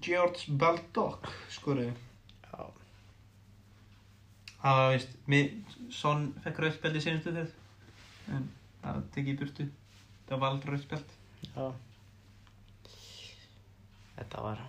Speaker 2: George Baldock skoruðu.
Speaker 1: já,
Speaker 2: Það var veist, mið, Son fekk rauðspjald í senustu þegar, en það var tekið í burtu. Það var aldrei rauðspjald.
Speaker 1: Já. Þetta var...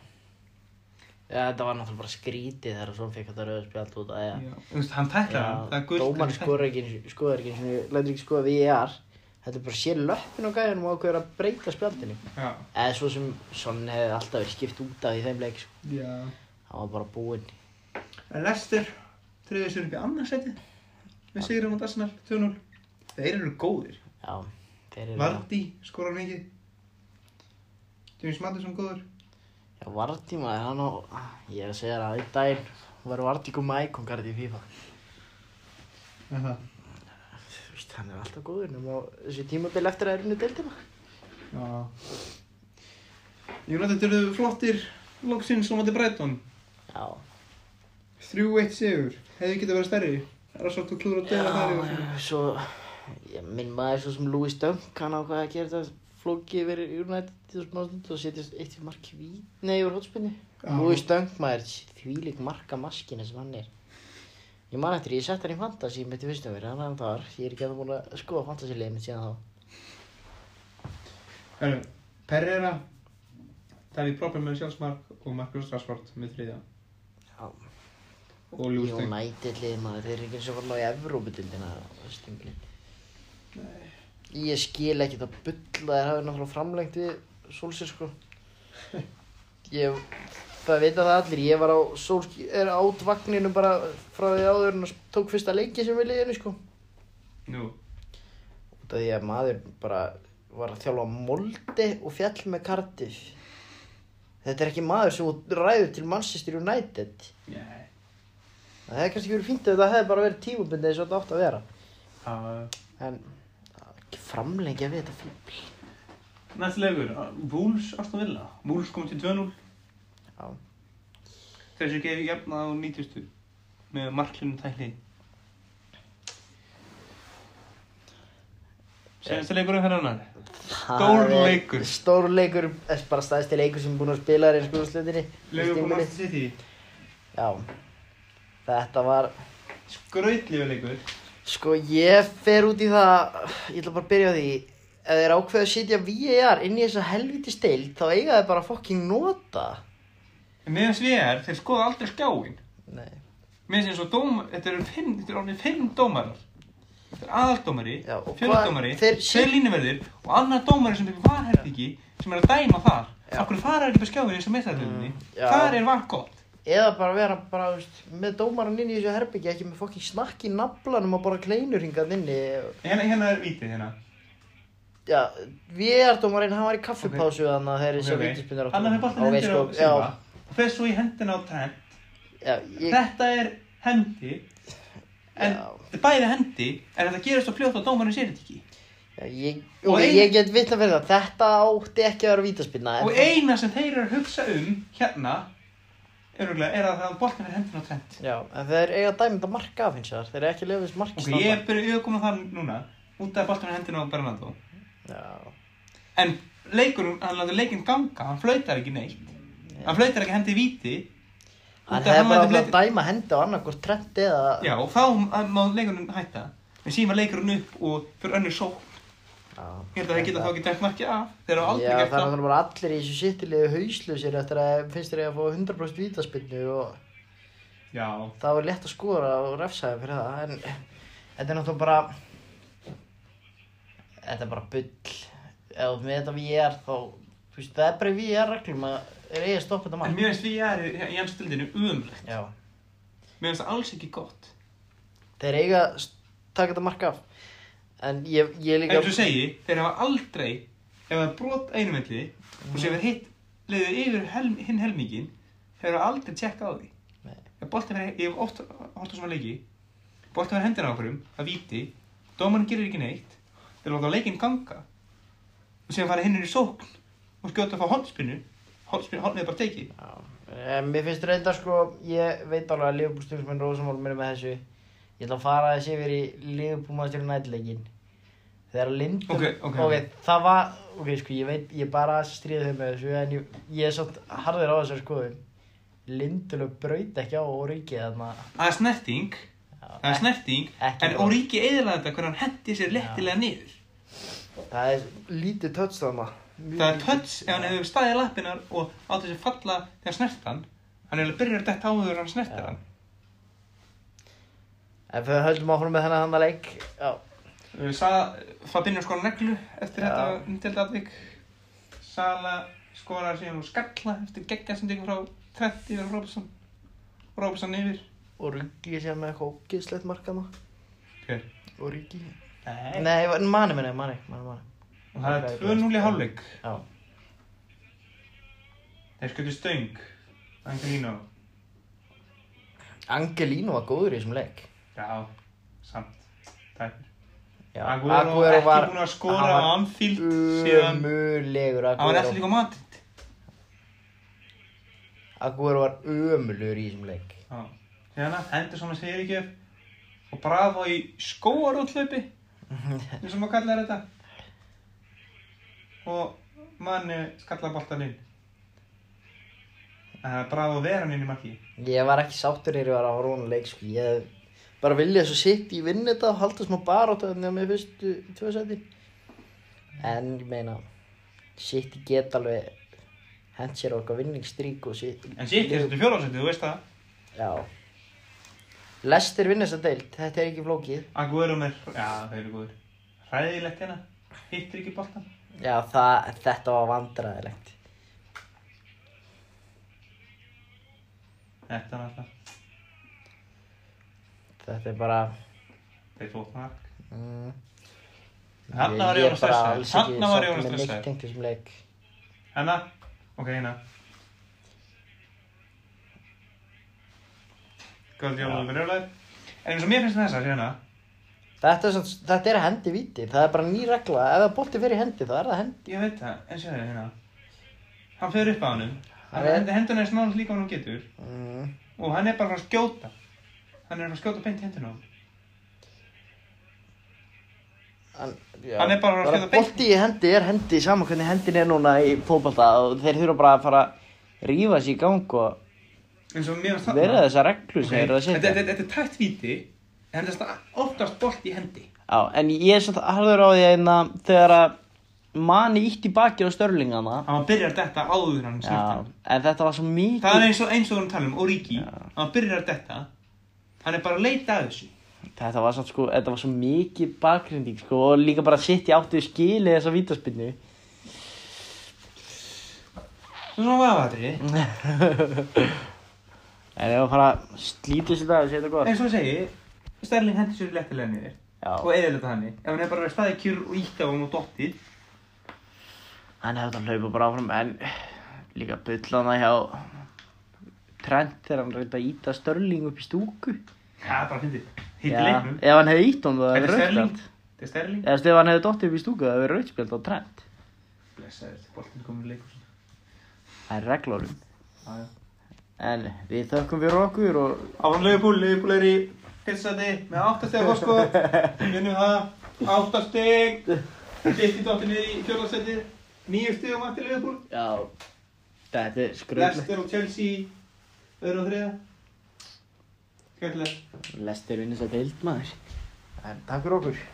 Speaker 1: Já, þetta var náttúrulega bara skrítið þegar svona fekk þetta rauðu spjald út að
Speaker 2: Já. Þú veist, hann tæklaði hann, það er gult.
Speaker 1: Dóman skoðar ekki, einu- skoðar ekki, einu sinni- lætur ekki skoða VAR. Þetta er bara sér löppin á gæðinum og ákveður að breyta spjaldinu.
Speaker 2: Já.
Speaker 1: Eða svo sem svona hefði alltaf verið skipt út af í þeim leik. sko.
Speaker 2: Já.
Speaker 1: Það var bara búinn.
Speaker 2: En Lester, þriðið sér upp í annarsæti, við sigurum á Arsenal 2-0. Þeir eru góðir.
Speaker 1: Já, þeir eru...
Speaker 2: Vardí skorar mikið. James Madison góður.
Speaker 1: Já, Vardí maður, hann á... Ég er að segja það, einn daginn var Vardí komið ækongarði í FIFA.
Speaker 2: Aha.
Speaker 1: Þú veist, hann er alltaf góður nema á þessu tímabil eftir að er unni deildina.
Speaker 2: Já.
Speaker 4: United eru flottir loksins á móti Brighton
Speaker 1: Já,
Speaker 4: 3-1 sigur, hefði getið verið stærri Rassart og klúður að döða þar yfir.
Speaker 1: svo ég minn maður svo sem Louis Dunk hann ákvaði að gera þetta flóki verið United til smá stund og setjast eitt fyrir mark vít nei, úr hótspinni
Speaker 4: Já.
Speaker 1: Louis Dunk maður þvílík marka maskina sem hann er ég man eftir, ég sett hann í fantasy mitt í fyrstum verið, hann er hann þar ég er ekki að það búin að skoða fantasy leiðin mitt síðan þá
Speaker 4: Herru, Pereira Davíð Proper með sjálfsmark og Marcus Rashford með þriðja
Speaker 1: Já.
Speaker 4: og Ljústeng
Speaker 1: United leiðin maður, þeir eru ekki eins og fara að ná í Evrópudildina stingli ég skil ekki það bulla þeir hafi náttúrulega framlengt við Solskjaer sko ég það vita það allir, ég var á Solskjaer át vagninu bara frá því áður en hann tók fyrsta leiki sem við leiðinu sko
Speaker 4: Nú,
Speaker 1: út af því að maður bara var að þjálfa moldi og fjall með Cardiff þetta er ekki maður sem þú ræður til Manchester United
Speaker 4: Nei.
Speaker 1: það hefði kannski verið fínt ef þetta hefði bara verið tímabundið eins og þetta átt að vera
Speaker 4: uh,
Speaker 1: en ekki framlengja við þetta fíbl
Speaker 2: Næst leikur, Wolves Aston Villa
Speaker 4: Múls kom til 2-0
Speaker 1: Já.
Speaker 2: Þessu gefi jafna á 90 með marklinu tækni Senast leikur um hennar Stór leikur.
Speaker 1: stór leikur, þess bara staðisti leikur sem er búinn að spila þér sko slöndinni
Speaker 4: Leifur Martin City
Speaker 1: já þetta var
Speaker 4: Skrautlegur leikur
Speaker 1: sko ég fer út í það ég ætla bara að byrja á því ef þeir ákveða að setja VAR inn í þessa helviti steild þá eiga þeir bara að fokking nota
Speaker 2: En meðan sviðar, þeir skoða aldrei skjáin
Speaker 1: nei
Speaker 2: Mér finnst eins og dómar, þetta eru fimm, þetta eru orðin fimm dómarar Þetta er aðaldómari,
Speaker 1: Já, og
Speaker 2: fjöldómari,
Speaker 1: hvað- þeir-
Speaker 2: tveir línuverðir og annar dómari sem er varherfingi sem er að dæma þar
Speaker 1: Já.
Speaker 2: Akkur fara er upp í skjáin eins og meðstæðlunni
Speaker 1: Mm, já.
Speaker 2: Þar er vart gott
Speaker 1: eða bara vera bara, þú veist, með dómaran inn í þessu herbyggja ekki með fokking snakk í naflanum og bara kleinur hingað inni
Speaker 2: Hérna, hérna er vítið hérna
Speaker 1: já, VR-dómarinn hann var í kaffipásu þannig að þeir
Speaker 2: Ok,
Speaker 1: þessi
Speaker 2: ok.
Speaker 1: okay. vítaspinnur
Speaker 2: Annar fyrir boltin hendur á Silva
Speaker 1: sko, já,
Speaker 2: og fer svo í hendina á Trent
Speaker 1: já, ég,
Speaker 2: Þetta er hendi En
Speaker 1: Já.
Speaker 2: þetta er bæði hendi En þetta gerist svo fljótt og dómarinn sér þetta ekki
Speaker 1: já, ég,
Speaker 2: Og
Speaker 1: og
Speaker 2: ein-
Speaker 1: ég get vitna fyrir það þetta átti ekki að vera vítaspinna en
Speaker 2: Og eina sem þeir eru að hugsa um hérna Öruglega er að það boltin er hendina á Trent
Speaker 1: Já, en þeir eiga dæmið að marka af hins vegar, þeir eru ekki að lifa þessi marki
Speaker 2: Ok, ég er byrjuð að koma það núna Út af boltin er hendina á Bernardo
Speaker 1: Já,
Speaker 2: En leikurinn, hann látur leikinn ganga Hann flautar ekki neitt Hann flautar ekki hendi í víti
Speaker 1: hann
Speaker 2: af
Speaker 1: hefði bara
Speaker 2: lætur
Speaker 1: átt að
Speaker 2: leikinn-
Speaker 1: dæma hendi á annarkvort trend eða
Speaker 2: Já, og þá hann- má leikurinn hætta En síðan var leikurinn upp og fyrir önnur sók
Speaker 1: Já,
Speaker 2: Ég held að þeir geta þá ekki dæmt markið af Þeir eru aldrei
Speaker 1: Hérna. Já,
Speaker 2: gert
Speaker 1: þannig að
Speaker 2: það
Speaker 1: það bara allir í þessu sittilegu hauslusir eftir að finnst þér eiga að fá 100% vítaspinnu og
Speaker 2: Já,
Speaker 1: það var létt að skora og refsaði fyrir það en þetta er náttúrulega bara þetta er bara bull ef þú með þetta VR þá þú veist, það er bara í VR reglum að er eiga að stoppa þetta
Speaker 2: en
Speaker 1: mark
Speaker 2: mér finnst VR í í hans stildinu umrætt.
Speaker 1: Já,
Speaker 2: Mér finnst það alls ekki gott.
Speaker 1: þeir eiga að s- taka þetta mark af en ég, ég
Speaker 2: En
Speaker 1: líka
Speaker 2: eins og segi, þeir hafa aldrei, ef það er brot einum velli og sem hefur hitt, leiður yfir helm, hinn helmingin, þeir hafa aldrei tjekkað á því.
Speaker 1: Nei.
Speaker 2: Ef boltin er, ég hef oft, oft á svona leiki, boltin er hendina á okkurum, það víti, dómarinn gerir ekki neitt, þeir láta leikinn ganga og sem fara hinnir í sókn og skjóta að fá hotspinnu, hotspinnu, hotnið er bara tekið.
Speaker 1: Já, en mér finnst reyndar sko, ég veit alveg að Liverpool stjórnismenn Rósamál mér með þessu. Ég ætla að fara þessi yfir í Liverpool maður nætleikinn. Þegar Lindum...
Speaker 2: Ok, ok, ok.
Speaker 1: það var, ok, sko, ég veit, ég bara stríði þau með þessu, en ég, ég er samt harður á þessar skoðum. Lindelöf braut ekki á Origi þarna.
Speaker 2: Það er snerting, það er snerting,
Speaker 1: ekki
Speaker 2: en
Speaker 1: brot.
Speaker 2: Óríki eðlaði þetta hvernig hann hendi sér lettilega niður.
Speaker 1: Það er lítið tötst þarna. Mjög
Speaker 2: Það er
Speaker 1: lítið.
Speaker 2: tötts ef hann hefur staðið lappinar og átt þessi falla þegar snert hann. Hann er alveg byrjar að detta áður en hann snertir
Speaker 1: Já.
Speaker 2: hann.
Speaker 1: En við höldum áfram með þennan þarna leik, já.
Speaker 2: Uh, Sala, Fabinho skorar neglu eftir
Speaker 1: Já.
Speaker 2: þetta umtilda atvik. Sala skorar síðan úr skalla eftir geggja sem tekur frá 30 yfir Róbson. Róbson yfir.
Speaker 1: Origi sé með eitthvað ógeðslegt markana.
Speaker 2: Hver?
Speaker 1: Origi.
Speaker 2: Nei.
Speaker 1: Nei, manni minni, manni, manni, manni.
Speaker 2: Og það er 2-0 í hálfleik.
Speaker 1: Já.
Speaker 2: Þeir skutu stöng. Angelino.
Speaker 1: Angelino var góður í þessum leik
Speaker 2: Já, samt. Tæpur.
Speaker 1: Já,
Speaker 2: Aguero,
Speaker 1: Aguero
Speaker 2: ekki
Speaker 1: var
Speaker 2: búinn að skora
Speaker 1: hann
Speaker 2: á
Speaker 1: var
Speaker 2: Anfield síðan.
Speaker 1: umulegur
Speaker 2: Hann var
Speaker 1: Aguero
Speaker 2: eftir líka Madrid.
Speaker 1: Aguero var ömulur í þessum leik.
Speaker 2: Já. Hérna, endur svona segir ekki og bravo í skóarútlaupi eins og maður kallar þetta og manni skallar boltan inn uh, bravo veran inn í marki
Speaker 1: Ég var ekki sáttur þegar ég var að horfa á rónu leik, sko. Ég bara vilja svo sitt í vinna þetta og halda smá baróta þannig að mér fyrstu tvö seti. En ég meina, sitt get alveg hent sér á okkar vinningstrík og sitt.
Speaker 2: en sitt er þetta fjórðarsætið, þú veist það
Speaker 1: Já. Lester vinna þessa deild, þetta er ekki flókið.
Speaker 2: Aguero með, já þeir eru góður hræðilegt hérna, hittir ekki boltan
Speaker 1: Já, það, þetta var vandræðilegt.
Speaker 2: þetta er alltaf,
Speaker 1: Þetta er bara...
Speaker 2: þeir fótt mark
Speaker 1: Mm,
Speaker 2: Þarna var
Speaker 1: ég- ég bara
Speaker 2: Jónas stressaður.
Speaker 1: alls ekki
Speaker 2: Þarna var
Speaker 1: sáttur
Speaker 2: Jónas
Speaker 1: með neitt
Speaker 2: stressaður.
Speaker 1: tengt þessum leik.
Speaker 2: hérna, ok hérna góður jólum við rjólaður en eins og mér finnst þessa, séu hérna
Speaker 1: Þetta er, samt- þetta er hendi viti, það er bara ný regla, ef það bolti fyrir hendi þá er það hendi.
Speaker 2: Ég veit það, en sjáðu hérna Hann fer upp á hannum
Speaker 1: Hann er-
Speaker 2: Hendun er snáðast líka hann hún getur
Speaker 1: Mm.
Speaker 2: Og hann er bara að fara að skjóta Hann er að fara að skjóta beint í hendun á hann
Speaker 1: Hann, já,
Speaker 2: Hann er bara að skjóta beint.
Speaker 1: Bolti í hendi er hendi, saman hvernig hendin er núna í fótballta og þeir þurfa bara að fara að rífa sér í gang og
Speaker 2: En svo mér finnst
Speaker 1: vera þessar reglu
Speaker 2: Ok,
Speaker 1: sem þeir eru að
Speaker 2: þetta-
Speaker 1: setja.
Speaker 2: Þetta þetta er tætt víti En þetta er sta- oftast bolt í hendi
Speaker 1: Já, en ég er svolítið harður á því einna þegar að manni ítt í bakið á störlingana.
Speaker 2: Hann byrjar þetta áður en hann
Speaker 1: Já,
Speaker 2: snurta
Speaker 1: en þetta var svo mikið.
Speaker 2: Það er eins og eins og hann tala um, Origi Hann byrjar þetta Hann er bara að leita að þessu
Speaker 1: Þetta var, samt, sko, þetta var svo mikið bakgrinding sko, og líka bara sitt í áttu skili þessa vítaspinnu.
Speaker 2: Svo svona vafatri
Speaker 1: En ef að fara að slíti sér dag og segja þetta gott.
Speaker 2: En svo segi Sterling hendur sér léttilega niður Og
Speaker 1: Já,
Speaker 2: eða þetta hann Ef hann er bara að staði kjur og ítt á hann og dottið
Speaker 1: hann hefði að hlaupa bara áfram en líka bullana hjá Trent þegar hann reyndi að íta Störling upp í stúku.
Speaker 2: Já, bara fyndið. Hitti
Speaker 1: Já,
Speaker 2: leiknum.
Speaker 1: Ef hann hefði ítt hann það
Speaker 2: Þetta
Speaker 1: hefði
Speaker 2: er
Speaker 1: verið
Speaker 2: Sterling.
Speaker 1: rauðspjöld.
Speaker 2: Þetta er Sterling.
Speaker 1: Eða þú veist, ef hann hefði dottið upp í stúku það hefði verið rauðspjöld á Trent.
Speaker 2: Blessaður, boltinn komið í leikhúsin.
Speaker 1: Það er reglórum.
Speaker 2: Já, já.
Speaker 1: En við þökkum fyrir okkur og
Speaker 2: Áfram Leifbúl, Leifbúl er í fyrstandi með áttasteg hosko. Vinnum það, áttasteg. Ditti dottir niður í fjórðarsetti. Nýju stegum aftur Leifbúl.
Speaker 1: já, þetta er skröðlegt.
Speaker 2: Leicester og Chelsea, öðru og þriða. Skemmtilegt.
Speaker 1: Lest er vinnins að deild maður. En takk fyrir okkur.